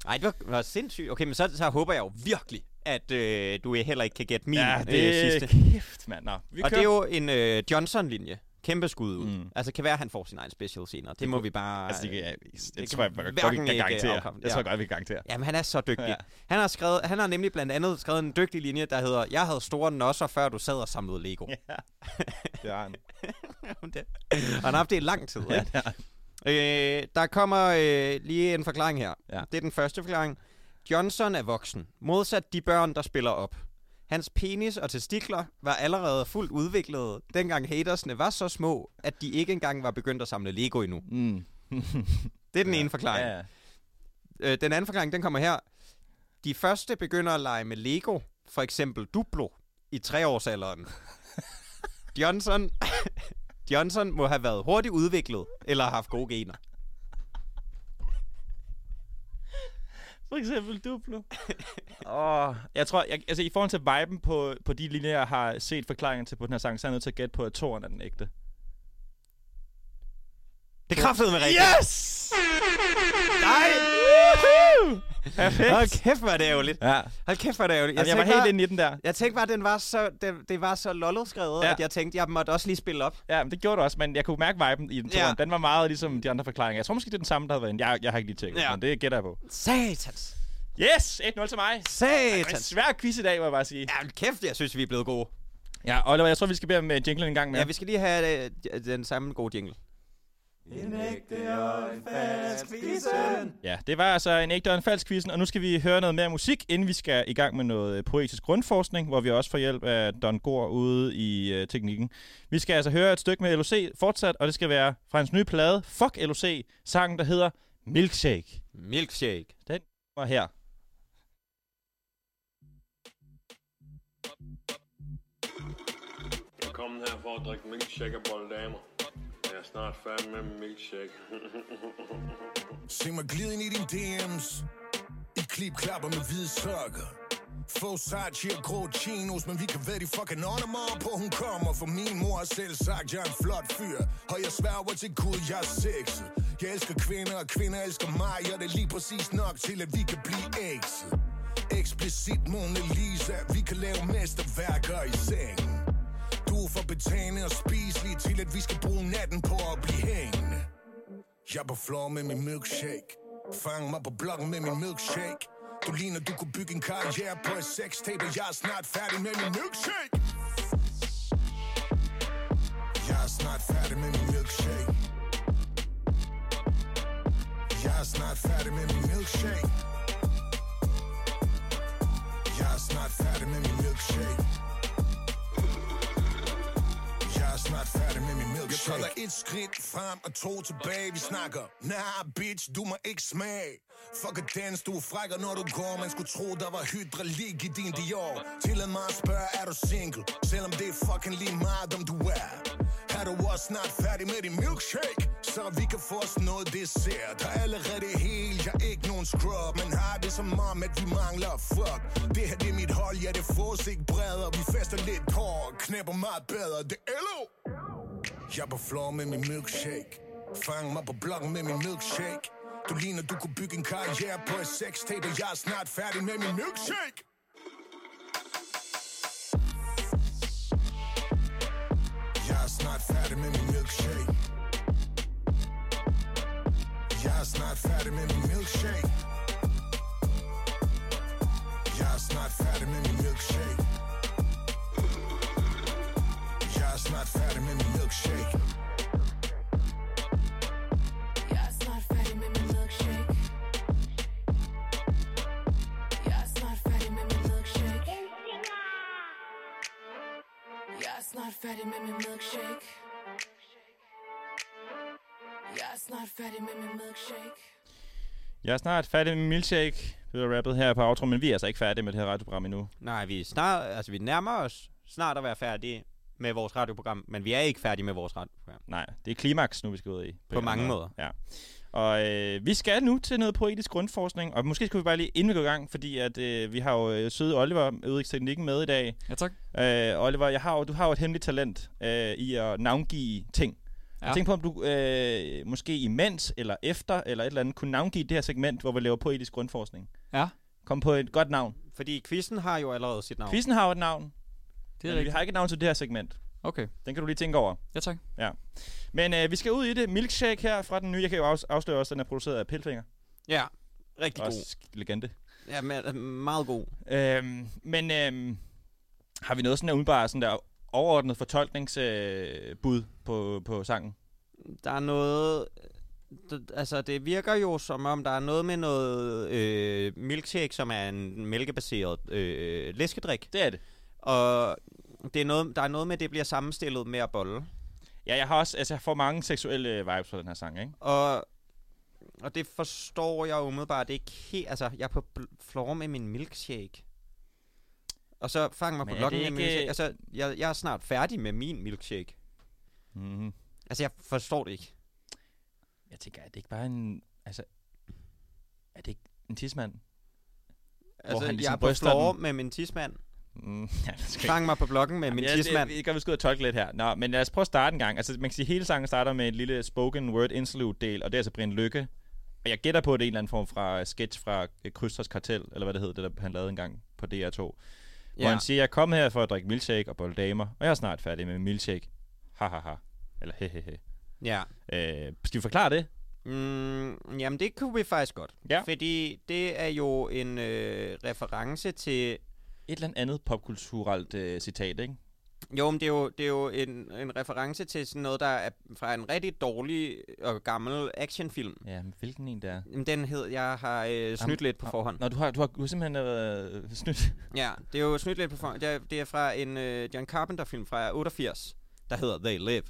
Speaker 3: Ej, det var, var sindssygt. Okay, men så, så håber jeg jo virkelig, at øh, du heller ikke kan gætte min
Speaker 4: ja,
Speaker 3: øh,
Speaker 4: det er
Speaker 3: sidste.
Speaker 4: kæft, mand. Nå, vi
Speaker 3: og det
Speaker 4: kører.
Speaker 3: er jo en øh, Johnson-linje. Kæmpe skud ud.
Speaker 4: Mm.
Speaker 3: Mm. Altså, kan være, at han får sin egen special senere. Det, det må vi bare... øh,
Speaker 4: Altså, det, kan, jeg,
Speaker 3: kan
Speaker 4: det tror jeg, jeg godt, vi
Speaker 3: hverken
Speaker 4: kan
Speaker 3: ikke
Speaker 4: garantere.
Speaker 3: afkomme.
Speaker 4: Jeg tror
Speaker 3: Ja.
Speaker 4: godt, vi kan garantere.
Speaker 3: Jamen, han er så dygtig.
Speaker 4: Ja.
Speaker 3: Ja. Han, har skrevet, han har nemlig blandt andet skrevet en dygtig linje, der hedder Jeg havde store nosser, før du sad og samlede Lego. Ja.
Speaker 4: Ja. Det er han.
Speaker 3: det. Og han har haft det i lang tid. Ja, Øh, der kommer øh, lige en forklaring her.
Speaker 4: Ja.
Speaker 3: Det er den første forklaring. Johnson er voksen, modsat de børn, der spiller op. Hans penis og testikler var allerede fuldt udviklede, dengang hatersne var så små, at de ikke engang var begyndt at samle Lego endnu.
Speaker 4: Mm.
Speaker 3: Det er den ja. ene forklaring.
Speaker 4: Ja, ja.
Speaker 3: Øh, den anden forklaring, den kommer her. De første begynder at lege med Lego, for eksempel Duplo, i treårsalderen. Johnson, Johnson må have været hurtigt udviklet, eller har haft gode gener.
Speaker 4: For eksempel Duplo. Åh, jeg tror, jeg, altså i forhold til viben på, på de linjer, jeg har set forklaringen til på den her sang, så er jeg nødt til at gætte på, at toren er den ægte.
Speaker 3: Det kræftede med rigtigt.
Speaker 4: Yes!
Speaker 3: Nej!
Speaker 4: Perfekt.
Speaker 3: Hold kæft, hvor er det ærgerligt.
Speaker 4: Ja,
Speaker 3: Hold kæft, hvor er det ærgerligt.
Speaker 4: jeg, jeg var
Speaker 3: tænkte
Speaker 4: helt
Speaker 3: bare-
Speaker 4: inde i den der.
Speaker 3: Jeg tænkte bare, den var så, det, det var så lollet skrevet,
Speaker 4: Ja.
Speaker 3: ja. at jeg tænkte, jeg måtte også lige spille op.
Speaker 4: Ja, men det gjorde du også, men jeg kunne mærke viben i den
Speaker 3: Ja.
Speaker 4: ja. Den var meget ligesom de andre forklaringer. Jeg tror måske, det er den samme, der havde været inde. Jeg, jeg har ikke lige tjekket, ja.
Speaker 3: Ja.
Speaker 4: men det gætter jeg på.
Speaker 3: Satans.
Speaker 4: Yes! 1-0 til mig. Det var en
Speaker 3: Satans.
Speaker 4: svær quiz i dag, må jeg bare sige.
Speaker 3: Ja, men kæft, jeg synes, vi er blevet gode.
Speaker 4: Ja, Oliver, jeg tror, vi skal bede om øh, jinglen en gang
Speaker 3: Ja,
Speaker 4: mere.
Speaker 3: ja vi skal lige have øh, den samme gode jingle.
Speaker 9: En ægte og en falsk quizzen.
Speaker 4: Ja, det var altså en ægte og en falsk quizzen, og nu skal vi høre noget mere musik, inden vi skal i gang med noget øh, poetisk grundforskning, hvor vi også får hjælp af Don Gore ude i øh, teknikken. Vi skal altså høre et stykke med LOC fortsat, og det skal være fra hans nye plade, Fuck LOC, sangen der hedder Milkshake.
Speaker 3: Milkshake.
Speaker 4: Og her.
Speaker 10: Jeg er kommet her for at drikke milkshake og bolle damer. Jeg er snart færdig med min milkshake.
Speaker 5: Se mig glide ind i din DM's I klip klapper med hvide sokker Få Sachi og grå chinos Men vi kan være de fucking åndemor på hun kommer For min mor har selv sagt, jeg er en flot fyr Og jeg sværger til Gud, jeg er sexet Jeg elsker kvinder, og kvinder elsker mig Og det er lige præcis nok til, at vi kan blive ægset Eksplicit Mona Lisa Vi kan lave mesterværker i sengen Du er for betagende og spiselig Til at vi skal bruge natten på at blive hængende jeg er på floor med min milkshake Fang mig på blokken med min milkshake Du ligner, du kunne bygge en karriere på et sextape Og jeg er snart færdig med min milkshake Jeg er snart færdig med min milkshake Jeg er snart færdig med min milkshake Jeg er snart færdig med min milkshake jeg er snart færdig med min milkshake. Jeg holder et skridt frem og to tilbage, vi snakker. Nah, bitch, du må ikke smage. Fuck at dans, du er frækker, når du går. Man skulle tro, der var hydraulik i din Dior. Tillad mig at spørge, er du single? Selvom det er fucking lige meget, om du er. Er du også snart færdig med din milkshake? Så vi kan få os noget dessert. Der er allerede hel, jeg er ikke nogen scrub. Men har det som om, at vi mangler fuck. Det her, det er mit hold, ja, det fås ikke bredere. Vi fester lidt hårdt, knæpper meget bedre. Det er LO! Jeg er på floor med min milkshake. Fang mig på blokken med min milkshake. Du ligner, du kunne bygge en karriere på et sextape, og jeg er snart færdig med min milkshake. Jeg er snart færdig med min milkshake. Jeg er snart færdig med min milkshake. Jeg er snart færdig med min milkshake. Jeg er snart færdig med min milkshake.
Speaker 11: Jeg er snart færdig med min milkshake. Jeg er snart færdig med min milkshake. Jeg er snart færdig med min milkshake. Jeg er snart færdig med min milkshake.
Speaker 4: Jeg er snart færdig med Milkshake, det er rappet her på outro, men vi er altså ikke færdige med det her radioprogram endnu.
Speaker 3: Nej, vi, er snart, altså, vi nærmer os snart at være færdige med vores radioprogram, men vi er ikke færdige med vores radioprogram.
Speaker 4: Nej, det er klimaks nu, vi skal ud i.
Speaker 3: På mange måder.
Speaker 4: Ja. Og øh, vi skal nu til noget poetisk grundforskning, og måske skulle vi bare lige inden vi går i gang, fordi at, øh, vi har jo øh, søde Oliver ude i teknikken med i dag.
Speaker 12: Ja, tak.
Speaker 4: Øh, Oliver, jeg har jo, du har jo et hemmeligt talent øh, i at navngive ting. Ja. Jeg
Speaker 12: Ja.
Speaker 4: tænkte på, om du øh, måske imens, eller efter, eller et eller andet, kunne navngive det her segment, hvor vi laver poetisk grundforskning.
Speaker 12: Ja.
Speaker 4: Kom på et godt navn.
Speaker 3: Fordi quizzen har jo allerede sit navn.
Speaker 4: Quizzen har jo et navn,
Speaker 12: Det er
Speaker 4: men vi
Speaker 12: rigtigt.
Speaker 4: har ikke et navn til det her segment.
Speaker 12: Okay.
Speaker 4: Den kan du lige tænke over.
Speaker 12: Ja, tak.
Speaker 4: Men øh, vi skal ud i det. Milkshake her fra den nye. Jeg kan jo afs- afsløre også, at den er produceret af Pelfinger.
Speaker 3: Ja, rigtig god.
Speaker 4: Også legende.
Speaker 3: Ja, men, øh, meget god.
Speaker 4: Øhm, men øhm, har vi noget sådan der umiddelbart sådan der overordnet fortolkningsbud øh, bud på, på sangen?
Speaker 3: der er noget... d- Altså, det virker jo som om, der er noget med noget øh, milkshake, som er en mælkebaseret øh, læskedrik.
Speaker 4: Det er det.
Speaker 3: Og det er noget, der er noget med, at det bliver sammenstillet med at bolle.
Speaker 4: Ja, jeg har også, altså jeg får mange seksuelle vibes fra den her sang, ikke?
Speaker 3: Og, og det forstår jeg umiddelbart ikke helt. Altså, jeg er på bl- floor med min milkshake. Og så fang mig
Speaker 4: Men
Speaker 3: på
Speaker 4: er det
Speaker 3: blokken med min
Speaker 4: ikke-
Speaker 3: milkshake. Altså, jeg, jeg er snart færdig med min milkshake.
Speaker 4: Mm-hmm.
Speaker 3: Altså, jeg forstår det ikke.
Speaker 4: Jeg tænker, er det ikke bare en, altså, er det ikke en tidsmand?
Speaker 3: Altså,
Speaker 4: han
Speaker 3: jeg
Speaker 4: ligesom
Speaker 3: er på
Speaker 4: ryster
Speaker 3: floor
Speaker 4: den.
Speaker 3: med min tidsmand.
Speaker 4: Mm, ja, det skal
Speaker 3: Fang mig på blokken med min
Speaker 4: ja,
Speaker 3: tidsmand.
Speaker 4: Det, det kan vi skal ud og tolke lidt her. Nå, men lad os prøve at starte en gang. Altså, man kan sige, at hele sangen starter med et lille spoken word interlude del, og det er altså Brian Lykke. Og jeg gætter på, at det er en eller anden form fra sketch fra øh, Krysters Kartel, eller hvad det hed, det der han lavede engang på DR2. Ja. Hvor han siger, jeg kom her for at drikke milkshake og bolle damer, og jeg er snart færdig med min milkshake. Ha ha ha. Eller he he he.
Speaker 3: ja.
Speaker 4: Øh, skal vi forklare det?
Speaker 3: Mm, jamen, det kunne vi faktisk godt.
Speaker 4: Ja.
Speaker 3: Fordi det er jo en øh, reference til...
Speaker 4: Et eller andet popkulturelt øh, citat, ikke?
Speaker 3: Jo, men det er jo, det er jo en, en reference til sådan noget, der er fra en rigtig dårlig og gammel actionfilm.
Speaker 4: Ja, men hvilken en der er?
Speaker 3: Jamen, Den hed, jeg har øh, snydt
Speaker 4: Jamen,
Speaker 3: lidt på
Speaker 4: nå,
Speaker 3: forhånd.
Speaker 4: Nå, du har, du har, du har simpelthen øh, snydt.
Speaker 3: Ja, det er jo snydt lidt på forhånd. Det er, det er fra en øh, John Carpenter-film fra 88, der hedder They Live.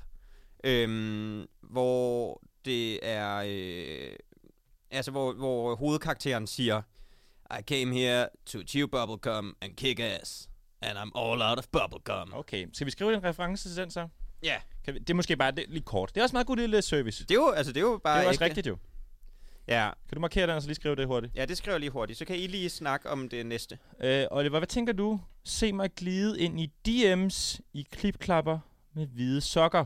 Speaker 3: Øhm, hvor det er... Øh, altså, hvor, hvor hovedkarakteren siger, I came here to chew bubblegum and kick ass. And I'm all out of bubblegum.
Speaker 4: Okay, skal vi skrive en reference til den så?
Speaker 3: Ja.
Speaker 4: Kan vi, det er måske bare det, lige kort. Det er også meget god lille service.
Speaker 3: Det er jo, altså, det er jo bare
Speaker 4: det er jo også
Speaker 3: ægte.
Speaker 4: rigtigt jo.
Speaker 3: Ja.
Speaker 4: Kan du markere den, og så lige skrive det hurtigt?
Speaker 3: Ja, det skriver jeg lige hurtigt. Så kan I lige snakke om det næste.
Speaker 4: Øh, Oliver, hvad tænker du? Se mig glide ind i DM's i klipklapper med hvide sokker.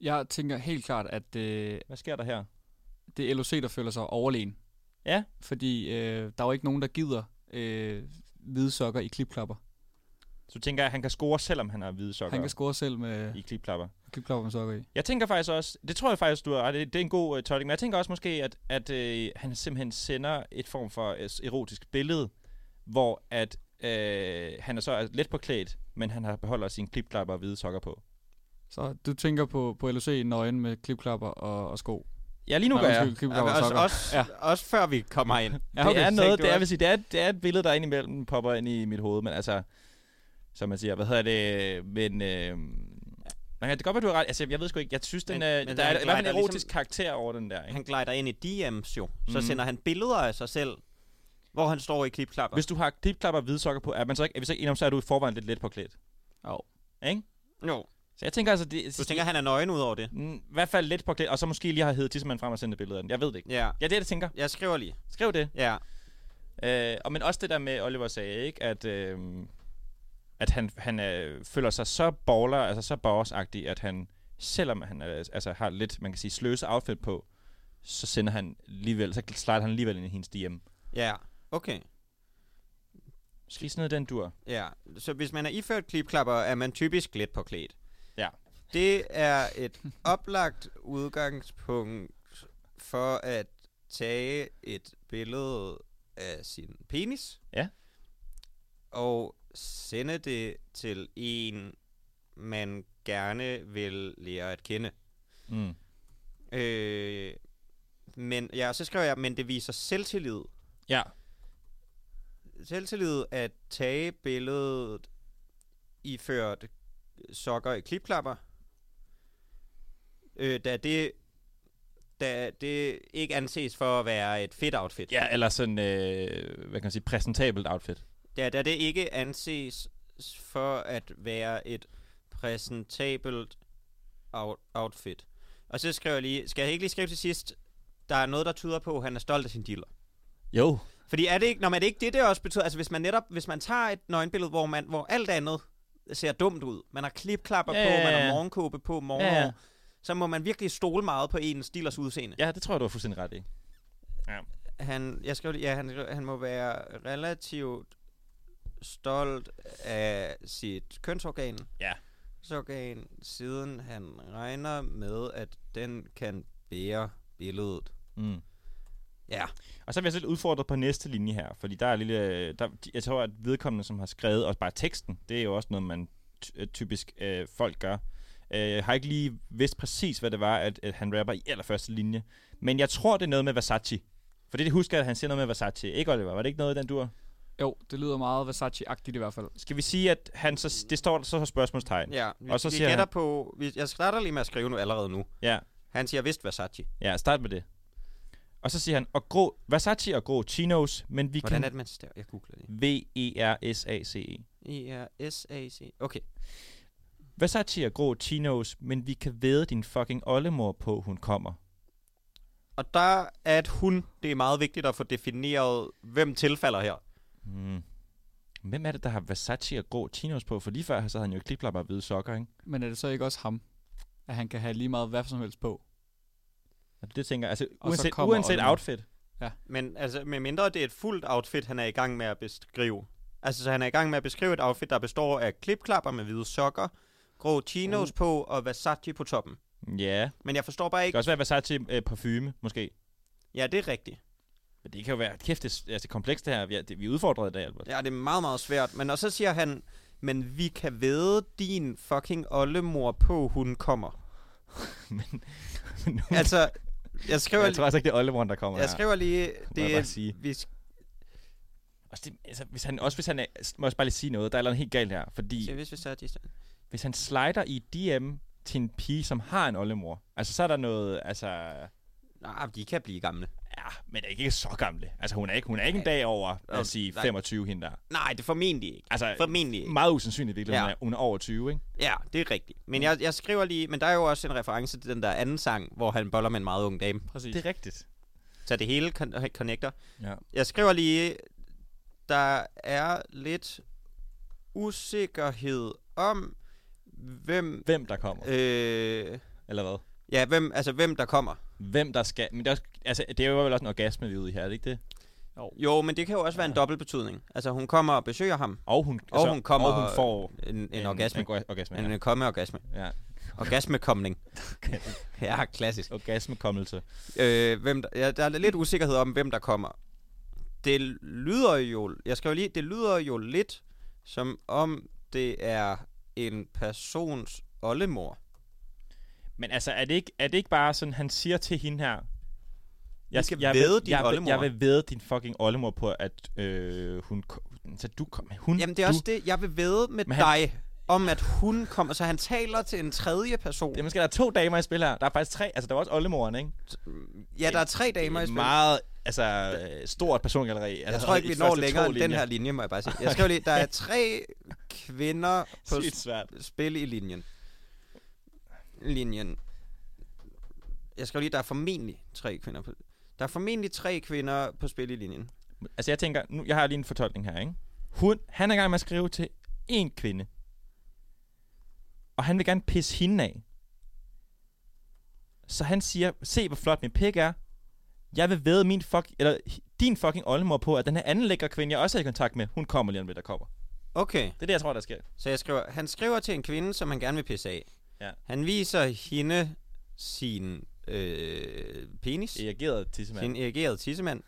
Speaker 12: Jeg tænker helt klart, at... Øh,
Speaker 4: Hvad sker der her?
Speaker 12: Det er LOC, der føler sig overlegen.
Speaker 4: Ja.
Speaker 12: Fordi øh, der er jo ikke nogen, der gider øh, hvide sokker i klipklapper.
Speaker 4: Så du tænker, at han kan score, selvom han har hvide sokker?
Speaker 12: Han kan score selv med...
Speaker 4: I klipklapper.
Speaker 12: Klipklapper med sokker i.
Speaker 4: Jeg tænker faktisk også, det tror jeg faktisk, du har, det, det er en god øh, tolkning, men jeg tænker også måske, at, at øh, han simpelthen sender et form for øh, erotisk billede, hvor at øh, han er så er let påklædt, men han har beholder sine klipklapper og hvide sokker på.
Speaker 12: Så du tænker på, på LOC nøgen med klipklapper og, og sko?
Speaker 4: Ja, lige nu
Speaker 12: Nej,
Speaker 4: gør jeg.
Speaker 12: undskyld, Klipklapper
Speaker 4: Ja,
Speaker 12: og
Speaker 4: også-
Speaker 12: sokker.
Speaker 4: også-
Speaker 12: ja.
Speaker 3: Også før vi kommer ind.
Speaker 4: Ja, okay. Det er noget, det er,
Speaker 3: også-
Speaker 4: vil sige, det, er, det er et billede, der indimellem popper ind i mit hoved, men altså, som man siger, hvad hedder det, men... Øh, Nej, det kan godt være, du har ret. Altså, jeg ved sgu ikke. Jeg synes, den,
Speaker 3: Men-
Speaker 4: men, øh,
Speaker 3: men
Speaker 4: der
Speaker 3: han
Speaker 4: er, i hvert fald
Speaker 3: glider
Speaker 4: en erotisk
Speaker 3: ligesom-
Speaker 4: ligesom... karakter over den der. Ikke?
Speaker 3: Han glider ind i DM's jo. Så
Speaker 4: Mhm.
Speaker 3: sender han billeder af sig selv, hvor han står i klipklapper.
Speaker 4: Hvis du har klipklapper og hvide sokker på, er, man så ikke, er vi så ikke enige om, så er du i forvejen lidt let påklædt.
Speaker 12: Jo.
Speaker 4: Ikke?
Speaker 3: Jo.
Speaker 4: Så jeg tænker altså... Det,
Speaker 3: Du tænker, han er nøgen ud over det?
Speaker 4: I hvert fald lidt påklædt, og så måske lige har heddet tissemand frem og sendt et billede af den. Jeg ved det ikke.
Speaker 3: Ja.
Speaker 4: Ja, det er det, jeg tænker.
Speaker 3: Jeg skriver lige.
Speaker 4: Skriv det.
Speaker 3: Ja.
Speaker 4: Øh, og men også det der med, Oliver sagde, ikke? At, øh, at han, han øh, føler sig så baller, altså så bossagtig, at han, selvom han øh, altså, har lidt, man kan sige, sløse outfit på, så sender han alligevel, så slider han alligevel ind i hendes DM.
Speaker 3: Ja, okay.
Speaker 4: Skal I sådan noget i den dur?
Speaker 3: Ja, så hvis man er iført klipklapper, er man typisk lidt påklædt.
Speaker 4: Ja.
Speaker 3: Det er et oplagt udgangspunkt for at tage et billede af sin penis.
Speaker 4: Ja.
Speaker 3: Og sende det til en, man gerne vil lære at kende.
Speaker 4: Mm.
Speaker 3: Øh, men ja, så skriver jeg, men det viser selvtillid.
Speaker 4: Ja.
Speaker 3: Selvtillid at tage billedet i ført sokker i klipklapper, øh, da det da det ikke anses for at være et fedt outfit.
Speaker 4: Ja, eller sådan, øh, hvad kan man sige, præsentabelt outfit.
Speaker 3: Da, da det ikke anses s- for at være et præsentabelt out- outfit. Og så skriver jeg lige, skal jeg ikke lige skrive til sidst, der er noget, der tyder på, at han er stolt af sin dealer.
Speaker 4: Jo.
Speaker 3: Fordi er det ikke, når man er det ikke det, det også betyder, altså hvis man netop, hvis man tager et nøgenbillede, hvor, man, hvor alt andet ser dumt ud, man har klipklapper
Speaker 4: Ja,
Speaker 3: på,
Speaker 4: ja,
Speaker 3: man
Speaker 4: ja.
Speaker 3: har morgenkåbe på, morgen,
Speaker 4: Ja, ja.
Speaker 3: så må man virkelig stole meget på en stilers udseende.
Speaker 4: Ja, det tror jeg, du har fuldstændig ret i. Ja.
Speaker 3: Han, jeg skrev, lige- ja, han, han må være relativt stolt af sit kønsorgan.
Speaker 4: Ja.
Speaker 3: Kønsorgan, siden han regner med, at den kan bære billedet.
Speaker 4: Mm.
Speaker 3: Ja.
Speaker 4: Og så vil jeg så lidt udfordret på næste linje her, fordi der er lille, øh, der, de- jeg tror, at vedkommende, som har skrevet, og bare teksten, det er jo også noget, man ty- øh, typisk øh, folk gør. Øh, Jeg har ikke lige vidst præcis, hvad det var, at, at han rapper i allerførste linje. Men jeg tror, det er noget med Versace. For det, det husker jeg, at han siger noget med Versace. Ikke, Oliver? Var det ikke noget i den dur?
Speaker 12: Jo, det lyder meget Versace-agtigt i hvert fald.
Speaker 4: Skal vi sige, at han så, det står der så har spørgsmålstegn?
Speaker 3: Ja, vi,
Speaker 4: og så
Speaker 3: vi
Speaker 4: siger
Speaker 3: gætter
Speaker 4: han,
Speaker 3: på... Vi, jeg starter lige med at skrive nu allerede nu.
Speaker 4: Ja.
Speaker 3: Han siger vist Versace.
Speaker 4: Ja, start med det. Og så siger han, og grå, Versace og grå chinos, men vi
Speaker 3: Hvordan
Speaker 4: kan... E
Speaker 3: er det, man stager? Jeg googler lige.
Speaker 4: V-E-R-S-A-C-E.
Speaker 3: E-R-S-A-C. Okay.
Speaker 4: Versace og grå chinos, men vi kan væde din fucking oldemor på, hun kommer.
Speaker 3: Og der er et hun. Det er meget vigtigt at få defineret, hvem tilfalder her.
Speaker 4: Hmm. Hvem er det, der har Versace og grå chinos på? For lige før så havde han jo klipklapper og hvide sokker, ikke?
Speaker 12: Men er det så ikke også ham, at han kan have lige meget hvad som helst på?
Speaker 4: Og det tænker jeg, altså
Speaker 12: Og så
Speaker 4: uanset,
Speaker 12: kommer
Speaker 4: uanset
Speaker 12: Oliver.
Speaker 4: outfit.
Speaker 12: Ja.
Speaker 3: Men altså, med mindre det er et fuldt outfit, han er i gang med at beskrive. Altså, så han er i gang med at beskrive et outfit, der består af klipklapper med hvide sokker, grå
Speaker 4: Mm.
Speaker 3: chinos på og Versace på toppen.
Speaker 4: Ja.
Speaker 3: Men jeg forstår bare
Speaker 4: Det kan
Speaker 3: ikke...
Speaker 4: også være Versace øh, parfume, måske.
Speaker 3: Ja, det er rigtigt.
Speaker 4: Men det kan jo være, kæft, det er altså, komplekst det her. Vi, er, det, vi er udfordret i dag, Albert.
Speaker 3: Ja, det er meget, meget svært. Men og så siger han, men vi kan vede din fucking oldemor på, hun kommer.
Speaker 4: men,
Speaker 3: altså, jeg skriver...
Speaker 4: Jeg tror altså ikke, det er Oldemoren, der kommer
Speaker 3: Jeg
Speaker 4: her.
Speaker 3: skriver lige...
Speaker 4: Må jeg
Speaker 3: Det,
Speaker 4: bare sige.
Speaker 3: Vi, sk-
Speaker 4: Også, det, altså, hvis han, også hvis han er, må jeg også bare lige sige noget, der er noget helt galt her, fordi
Speaker 3: Se, hvis vi så er distant.
Speaker 4: hvis han slider i DM til en pige, som har en oldemor, altså så er der noget, altså...
Speaker 3: Nej, de kan blive gamle.
Speaker 4: Ja, men ikke så gamle. Altså hun er ikke, hun er ikke en dag over, lad
Speaker 3: Nej.
Speaker 4: os sige,
Speaker 3: Nej.
Speaker 4: 25 hende der.
Speaker 3: Nej, det er formentlig ikke.
Speaker 4: Altså,
Speaker 3: formentlig ikke.
Speaker 4: Meget usandsynligt, virkelig, ja. hun,
Speaker 3: Ja.
Speaker 4: er, hun er over 20, ikke?
Speaker 3: Ja, det er rigtigt.
Speaker 4: Mm.
Speaker 3: Men jeg, jeg skriver lige... Men der er jo også en reference til den der anden sang, hvor han boller med en meget ung dame.
Speaker 1: Præcis.
Speaker 4: Det er rigtigt.
Speaker 3: Så det hele kon- connecter.
Speaker 4: Ja.
Speaker 3: Jeg skriver lige, der er lidt usikkerhed om, hvem...
Speaker 4: Hvem der kommer,
Speaker 3: Øh,
Speaker 4: eller hvad?
Speaker 3: ja, hvem, altså, hvem der kommer.
Speaker 4: Hvem der skal... Men det er, også, altså, det er jo vel også en orgasme, vi er ude i her, er det ikke det?
Speaker 3: Jo, men det kan jo også være en dobbeltbetydning. Altså, hun kommer og besøger ham,
Speaker 4: Og hun, altså,
Speaker 3: og hun kommer
Speaker 4: og hun får
Speaker 3: en, en, en orgasme.
Speaker 4: En, orga- orgasme,
Speaker 3: En, øh,
Speaker 4: ja.
Speaker 3: en komme-orgasme.
Speaker 4: ja.
Speaker 3: Orgasmekomning. ja, klassisk.
Speaker 4: Orgasmekommelse.
Speaker 3: Øh, hvem der, ja, der er lidt usikkerhed om, hvem der kommer. Det lyder jo, jeg skal jo lige, det lyder jo lidt, som om det er en persons oldemor.
Speaker 4: Men altså, er det, ikke, er det ikke bare sådan, han siger til hende her...
Speaker 3: Vi skal
Speaker 4: vil-
Speaker 3: vædde din
Speaker 4: jeg, vil-
Speaker 3: oldemor."
Speaker 4: Jeg vil væde din fucking oldemor på, at øh, hun... ko- Så du kommer... Hun,
Speaker 3: Jamen det er
Speaker 4: du,
Speaker 3: også det, jeg vil væde med
Speaker 4: Men han-
Speaker 3: dig, om at hun kommer, så han taler til en tredje person.
Speaker 4: Jamen skal der to damer i spil her. Der er faktisk tre. Altså, der var også oldemoren, ikke?
Speaker 3: Ja, der er tre damer i spil.
Speaker 4: Meget, altså, øh, stort persongalleri. Altså,
Speaker 3: Jeg tror ikke,
Speaker 4: i
Speaker 3: vi
Speaker 4: de
Speaker 3: når
Speaker 4: første
Speaker 3: længere
Speaker 4: to
Speaker 3: end den
Speaker 4: linjer.
Speaker 3: her linje, må jeg bare sige. Jeg skriver lige, der er tre kvinder på
Speaker 4: Sygt svært.
Speaker 3: spil i linjen. Linjen. Jeg skriver lige, der er formentlig tre kvinder på... Der er formentlig tre kvinder på spil i linjen.
Speaker 4: Altså, jeg tænker... Nu, jeg har lige en fortolkning her, ikke? Hun, han er i gang med at skrive til én kvinde. Og han vil gerne pisse hende af. Så han siger, se hvor flot min pik er. Jeg vil væde min fuck, eller din fucking oldemor på, at den her anden lækre kvinde, jeg også er i kontakt med, hun kommer lige om lidt, der kommer.
Speaker 3: Okay,
Speaker 4: Det er det, jeg tror, der sker.
Speaker 3: så jeg skriver, han skriver til en kvinde, som han gerne vil pisse af.
Speaker 4: Ja.
Speaker 3: Han viser hende sin øh, penis,
Speaker 4: Reageret tissemand.
Speaker 3: sin erigerede tissemand.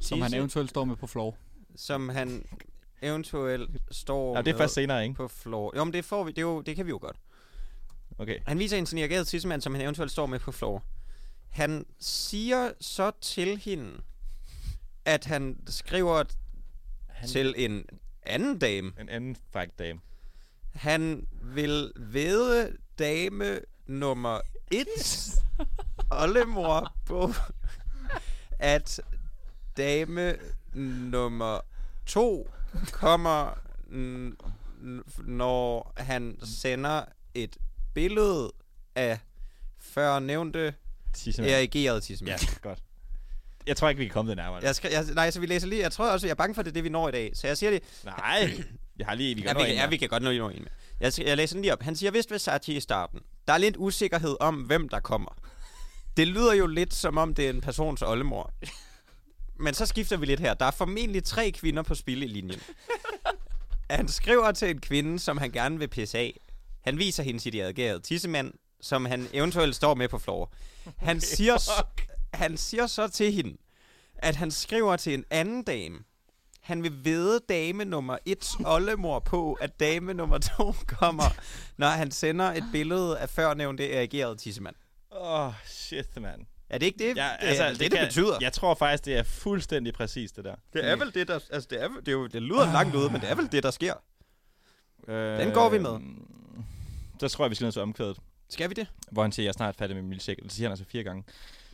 Speaker 12: Som han
Speaker 3: Tisse-
Speaker 12: eventuelt står med på floor.
Speaker 3: som han eventuelt står
Speaker 4: Ja, det er
Speaker 3: med
Speaker 4: først senere, ikke?
Speaker 3: på floor. Jo, men det, får vi, det, er jo, det kan vi jo godt.
Speaker 4: Okay.
Speaker 3: Han viser en signeret tissemand, som han eventuelt står med på floor. Han siger så til hende, at han skriver
Speaker 4: Han,
Speaker 3: til en anden dame.
Speaker 4: En anden fræk dame.
Speaker 3: Han vil vede dame nummer et, oldemor, på, at dame nummer to kommer, n- n- når han sender et billede af førnævnte
Speaker 4: Tissemand.
Speaker 3: erigeret tissemand.
Speaker 4: Ja, godt. Jeg tror ikke, vi kan komme det nærmere.
Speaker 3: Jeg skal, jeg, nej, så vi læser lige. Jeg tror også, jeg er bange for, at det er det, vi når i dag. Så jeg siger det.
Speaker 4: Nej, jeg har lige... Vi
Speaker 3: Ja,
Speaker 4: kan
Speaker 3: vi,
Speaker 4: nå
Speaker 3: kan,
Speaker 4: en
Speaker 3: ja,
Speaker 4: mere.
Speaker 3: vi kan godt nå endnu en med. Jeg, jeg læser den lige op. Han siger, vist ved Sachi i starten. Der er lidt usikkerhed om, hvem der kommer. Det lyder jo lidt, som om det er en persons oldemor. Men så skifter vi lidt her. Der er formentlig tre kvinder på spil i linjen. Han skriver til en kvinde, som han gerne vil pisse af. Han viser hende sit adgærede tissemand, som han eventuelt står med på floor. Han siger, s- han siger så til hende, at han skriver til en anden dame, han vil vede dame nummer 1 oldemor på, at dame nummer 2 kommer, når han sender et billede af førnævnte erigerede tissemand.
Speaker 4: Åh, oh, shit, mand.
Speaker 3: Er det ikke det,
Speaker 4: Ja,
Speaker 3: ja, altså, det, det, det, det
Speaker 4: kan-
Speaker 3: betyder?
Speaker 4: Jeg tror faktisk, det er fuldstændig præcis det der.
Speaker 3: det er vel det, der... Altså, det, er, det, er jo, det lyder langt ude, men det er vel det, der sker.
Speaker 4: Øh,
Speaker 3: Den går vi med.
Speaker 4: Så Øhm, tror jeg, vi skal ned til omkvædet,
Speaker 3: Skal vi det?
Speaker 4: hvor han siger, jeg er snart færdig med min milkshake. Det siger han altså fire gange.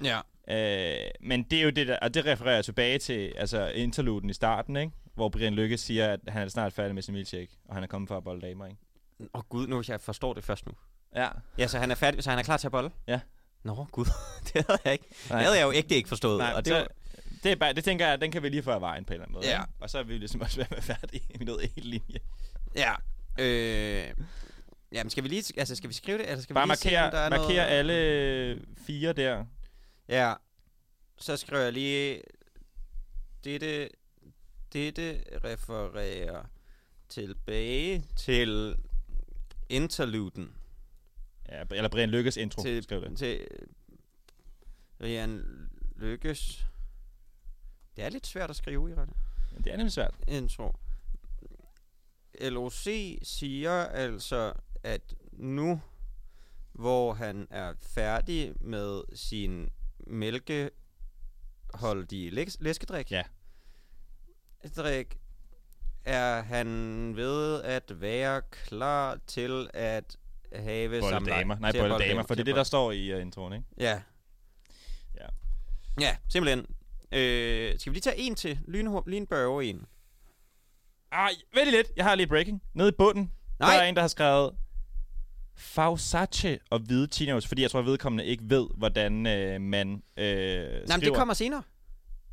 Speaker 3: Ja.
Speaker 4: Øh, men det er jo det der, og det refererer tilbage til altså interluden i starten, ikke? Hvor Brian Lykke siger, at han er snart færdig med sin milkshake, og han er kommet for at bolle damer, ikke?
Speaker 3: Åh oh, gud, nu jeg forstår det først nu.
Speaker 4: Ja.
Speaker 3: Ja, så han er færdig, så han er klar til at bolle?
Speaker 4: Ja.
Speaker 3: Nå, gud, det havde jeg ikke. Det havde jeg jo ægte ikke forstået.
Speaker 4: Nej,
Speaker 3: og det
Speaker 4: så,
Speaker 3: var,
Speaker 4: det, er bare, det tænker jeg, at den kan vi lige få af vejen på en eller anden måde.
Speaker 3: Ja.
Speaker 4: ikke? Og så er vi jo ligesom også ved at være færdige med noget en linje.
Speaker 3: ja. Øh, jamen, skal vi lige... Altså, skal vi skrive det? Eller skal
Speaker 4: Bare
Speaker 3: vi lige se, om der
Speaker 4: markere,
Speaker 3: er
Speaker 4: markere
Speaker 3: noget?
Speaker 4: alle fire der.
Speaker 3: Ja. Så skriver jeg lige... Dette, dette refererer tilbage til interluden.
Speaker 4: Ja, eller Brian Lykkes intro,
Speaker 3: til,
Speaker 4: skriv det.
Speaker 3: Til øh, Rian Lykkes... Det er lidt svært at skrive i rette.
Speaker 4: Men Det er nemlig svært.
Speaker 3: Intro. at LOC siger altså, at nu, hvor han er færdig med sin mælkeholdige læs- læskedrik,
Speaker 4: ja.
Speaker 3: drik, er han ved at være klar til at have
Speaker 4: Bolle
Speaker 3: samleje.
Speaker 4: damer. Nej,
Speaker 3: Til at
Speaker 4: bolle
Speaker 3: bolde
Speaker 4: damer, for
Speaker 3: til
Speaker 4: det
Speaker 3: at bolde-
Speaker 4: er det, der står i uh, introen, ikke?
Speaker 3: Ja.
Speaker 4: Ja.
Speaker 3: Ja, simpelthen. Øh, skal vi lige tage en til? Lynhur- Lynbørge en.
Speaker 4: Ej, vent lidt. Jeg har lige breaking. Nede i bunden, Nej. der er en, der har skrevet Fausace og hvide chinos, fordi jeg tror, at vedkommende ikke ved, hvordan øh, man øh, skriver.
Speaker 3: Nej, men det kommer senere.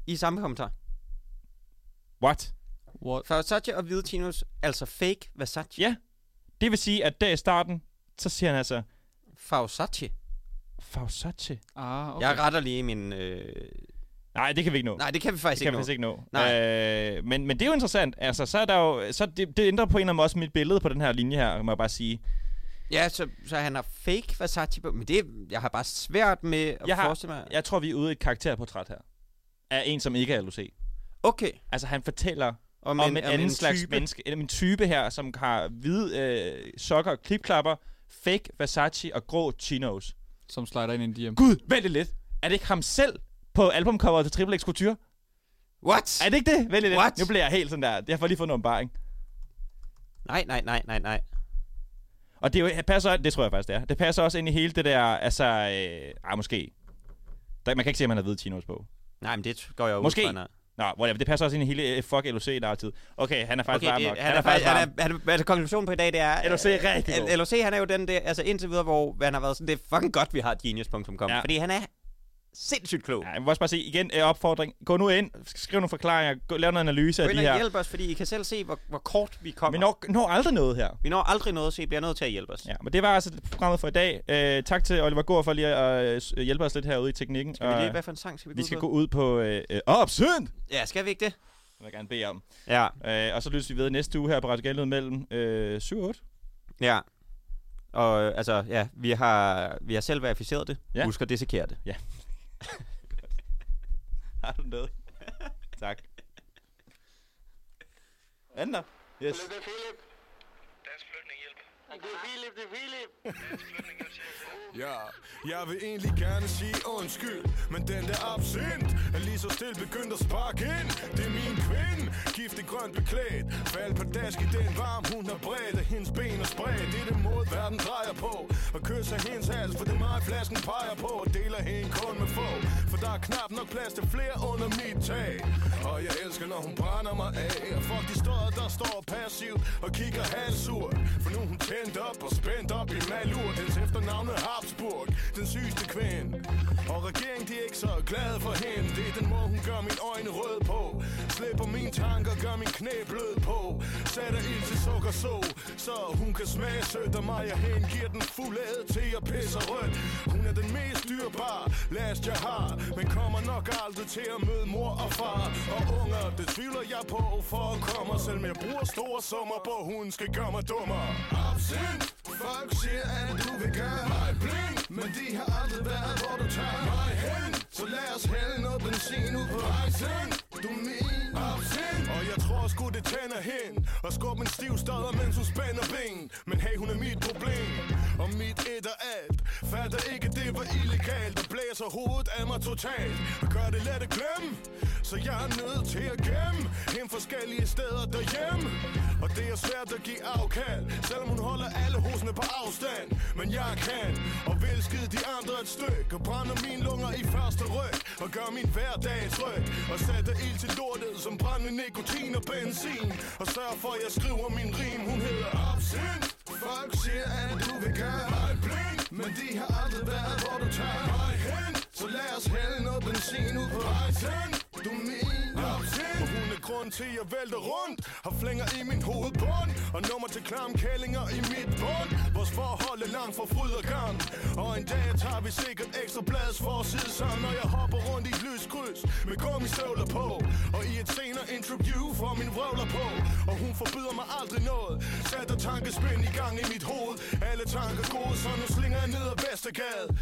Speaker 3: I samme kommentar.
Speaker 4: What?
Speaker 12: What?
Speaker 3: Versace og hvide chinos, altså fake Versace.
Speaker 4: Ja. Det vil sige, at der i starten, så siger han altså...
Speaker 3: Fausace.
Speaker 4: Fausace.
Speaker 12: Ah,
Speaker 3: Okay. Jeg retter lige min... Øh...
Speaker 4: Nej, det kan vi ikke nå.
Speaker 3: Nej, det kan vi faktisk
Speaker 4: det kan vi
Speaker 3: ikke
Speaker 4: faktisk ikke nå.
Speaker 3: Nej.
Speaker 4: Øh, men, men det er jo interessant. Altså, så er der jo, så det, det ændrer på en eller anden måde også mit billede på den her linje her, må jeg bare sige.
Speaker 3: Ja, så, så han har fake Versace på, men det, jeg har bare svært med at
Speaker 4: Jeg,
Speaker 3: forestille
Speaker 4: har,
Speaker 3: mig.
Speaker 4: jeg tror, vi er ude i et karakterportræt her. Af en, som ikke er LOC.
Speaker 3: Okay.
Speaker 4: Altså, han fortæller
Speaker 3: Om en-
Speaker 4: om, om en,
Speaker 3: om
Speaker 4: anden
Speaker 3: en
Speaker 4: slags
Speaker 3: type.
Speaker 4: menneske. Om en type her, som har hvide øh, sokker og klipklapper, fake Versace og grå chinos.
Speaker 12: Som slider ind i en DM.
Speaker 4: Gud, vent lidt. Er det ikke ham selv på albumcoveret til Triple X Couture?
Speaker 3: What?
Speaker 4: Er det ikke det? Vent lidt.
Speaker 3: What?
Speaker 4: Nu bliver jeg helt sådan der. Jeg får lige fået noget ombaring.
Speaker 3: Nej, nej, nej, nej, nej.
Speaker 4: Og det, er jo, det passer, det tror jeg faktisk, det er. Det passer også ind i hele det der, altså, øh, ah, måske. Der, man kan ikke se, at man har hvide chinos på.
Speaker 3: Nej, men det går jeg ud
Speaker 4: Måske.
Speaker 3: fra, nej.
Speaker 4: Nå, whatever. Det passer også ind i hele øh, fuck LOC der er tid. Okay, han er
Speaker 3: Okay,
Speaker 4: faktisk varm
Speaker 3: det-
Speaker 4: nok.
Speaker 3: han, er faktisk,
Speaker 4: varm.
Speaker 3: han er, han er, altså konklusionen på i dag, det er...
Speaker 4: LOC er rigtig
Speaker 3: øh,
Speaker 4: god.
Speaker 3: LOC, han er jo den der, altså indtil videre, hvor han har været sådan, det er fucking godt, vi har genius.com, ja.
Speaker 4: Ja.
Speaker 3: fordi han er sindssygt klog.
Speaker 4: Ja, jeg vil også bare sige igen, øh, opfordring. Gå nu ind, skriv nogle forklaringer, gå, lav noget analyse af
Speaker 3: Gå
Speaker 4: de
Speaker 3: ind
Speaker 4: her.
Speaker 3: og hjælp os, fordi I kan selv se, hvor, hvor kort vi kommer.
Speaker 4: Vi når, når aldrig noget her.
Speaker 3: Vi når aldrig noget, så I bliver nødt til at hjælpe os.
Speaker 4: Ja, men det var altså programmet for i dag. Øh, tak til Oliver Gård for lige at øh, s- hjælpe os lidt herude i teknikken.
Speaker 3: Skal vi lige,
Speaker 4: Og
Speaker 3: hvad for en sang skal vi gå
Speaker 4: vi
Speaker 3: ud
Speaker 4: skal
Speaker 3: på?
Speaker 4: gå ud på øh, øh, Opsynd!
Speaker 3: Ja, skal vi ikke det?
Speaker 4: Det vil jeg gerne bede om.
Speaker 3: Ja.
Speaker 4: Øh, og så lyttes vi ved næste uge her på Radio Genlyd mellem øh, 7 og 8.
Speaker 3: Ja. Og øh, altså, ja, vi har, vi har selv verificeret det.
Speaker 4: Ja.
Speaker 3: Husk at dissekere det.
Speaker 4: Ja. Har du noget? tak. Anden Yes.
Speaker 5: Ja, jeg vil egentlig gerne sige undskyld Men den der absint er lige så stille begyndt at sparke ind Det er min kvinde, gift i grønt beklædt Fald på dask i den varm, hun har bredt Og hendes ben er spredt, det er det måde verden drejer på Og kysser hendes hals, for det er mig flasken peger på Og deler hende kun med få For der er knap nok plads til flere under mit tag Og jeg elsker, når hun brænder mig af Og fuck de støder, der står passivt og kigger halsur For nu er hun tændt op og spændt op i malur Hendes efternavn er Habsburg, den sygeste kvinde Og regeringen, de er ikke så glade for hende Det er den måde, hun gør mine øjne røde på Slipper mine tanker, gør min knæ blød på Sætter ild til sukker så Så hun kan smage sødt af mig Jeg hengiver den fulde ad til at pisse rødt Hun er den mest dyrebare last jeg har Men kommer nok aldrig til at møde mor og far Og unger, det tvivler jeg på for at komme Selvom jeg bruger store summer på, hun skal gøre mig dummere Absint, folk siger at du vil gøre mig blind Men de har aldrig været, hvor du tager mig hen Så lad os hælde noget benzin ud på rejsen Du er min absint Og jeg tror sgu det tænder hen Og skubber en stiv stadig, mens hun spænder ben Men hey, hun er mit problem Og mit et og alt Fatter ikke, det var illegalt Og blæser hovedet af mig totalt Og gør det let at glemme Så jeg er nødt til at gemme Hende forskellige steder derhjemme Og det er svært at give afkald Selvom hun holder alle husene på afstand Men jeg kan Og vil skide de andre et stykke Og brænder mine lunger i første ryg Og gør min hverdag et tryk Og sætter ild til lortet som brændende nikotin og benzin Og sørger for, at jeg skriver min rim Hun hedder Absint Folk siger, at du vil gøre mig blind Men de har aldrig været, hvor du tager mig hen Så lad os hælde noget benzin ud på rejsen Du er min Absint Og hun er grund til, at jeg vælter rundt Har flænger i min hovedbund Og nummer til klam kællinger i mit bund Vores forhold er langt fra fryd og gam Og en dag tager vi sikkert ekstra blads for at sidde sammen Når jeg hopper rundt i et lyskryds Med gummistøvler på Og i et senere interview får min vrøvler på Og hun forbyder mig aldrig noget Sætter tankespind i gang i mit hoved Alle tanker gode, så nu slinger jeg ned ad Vestergade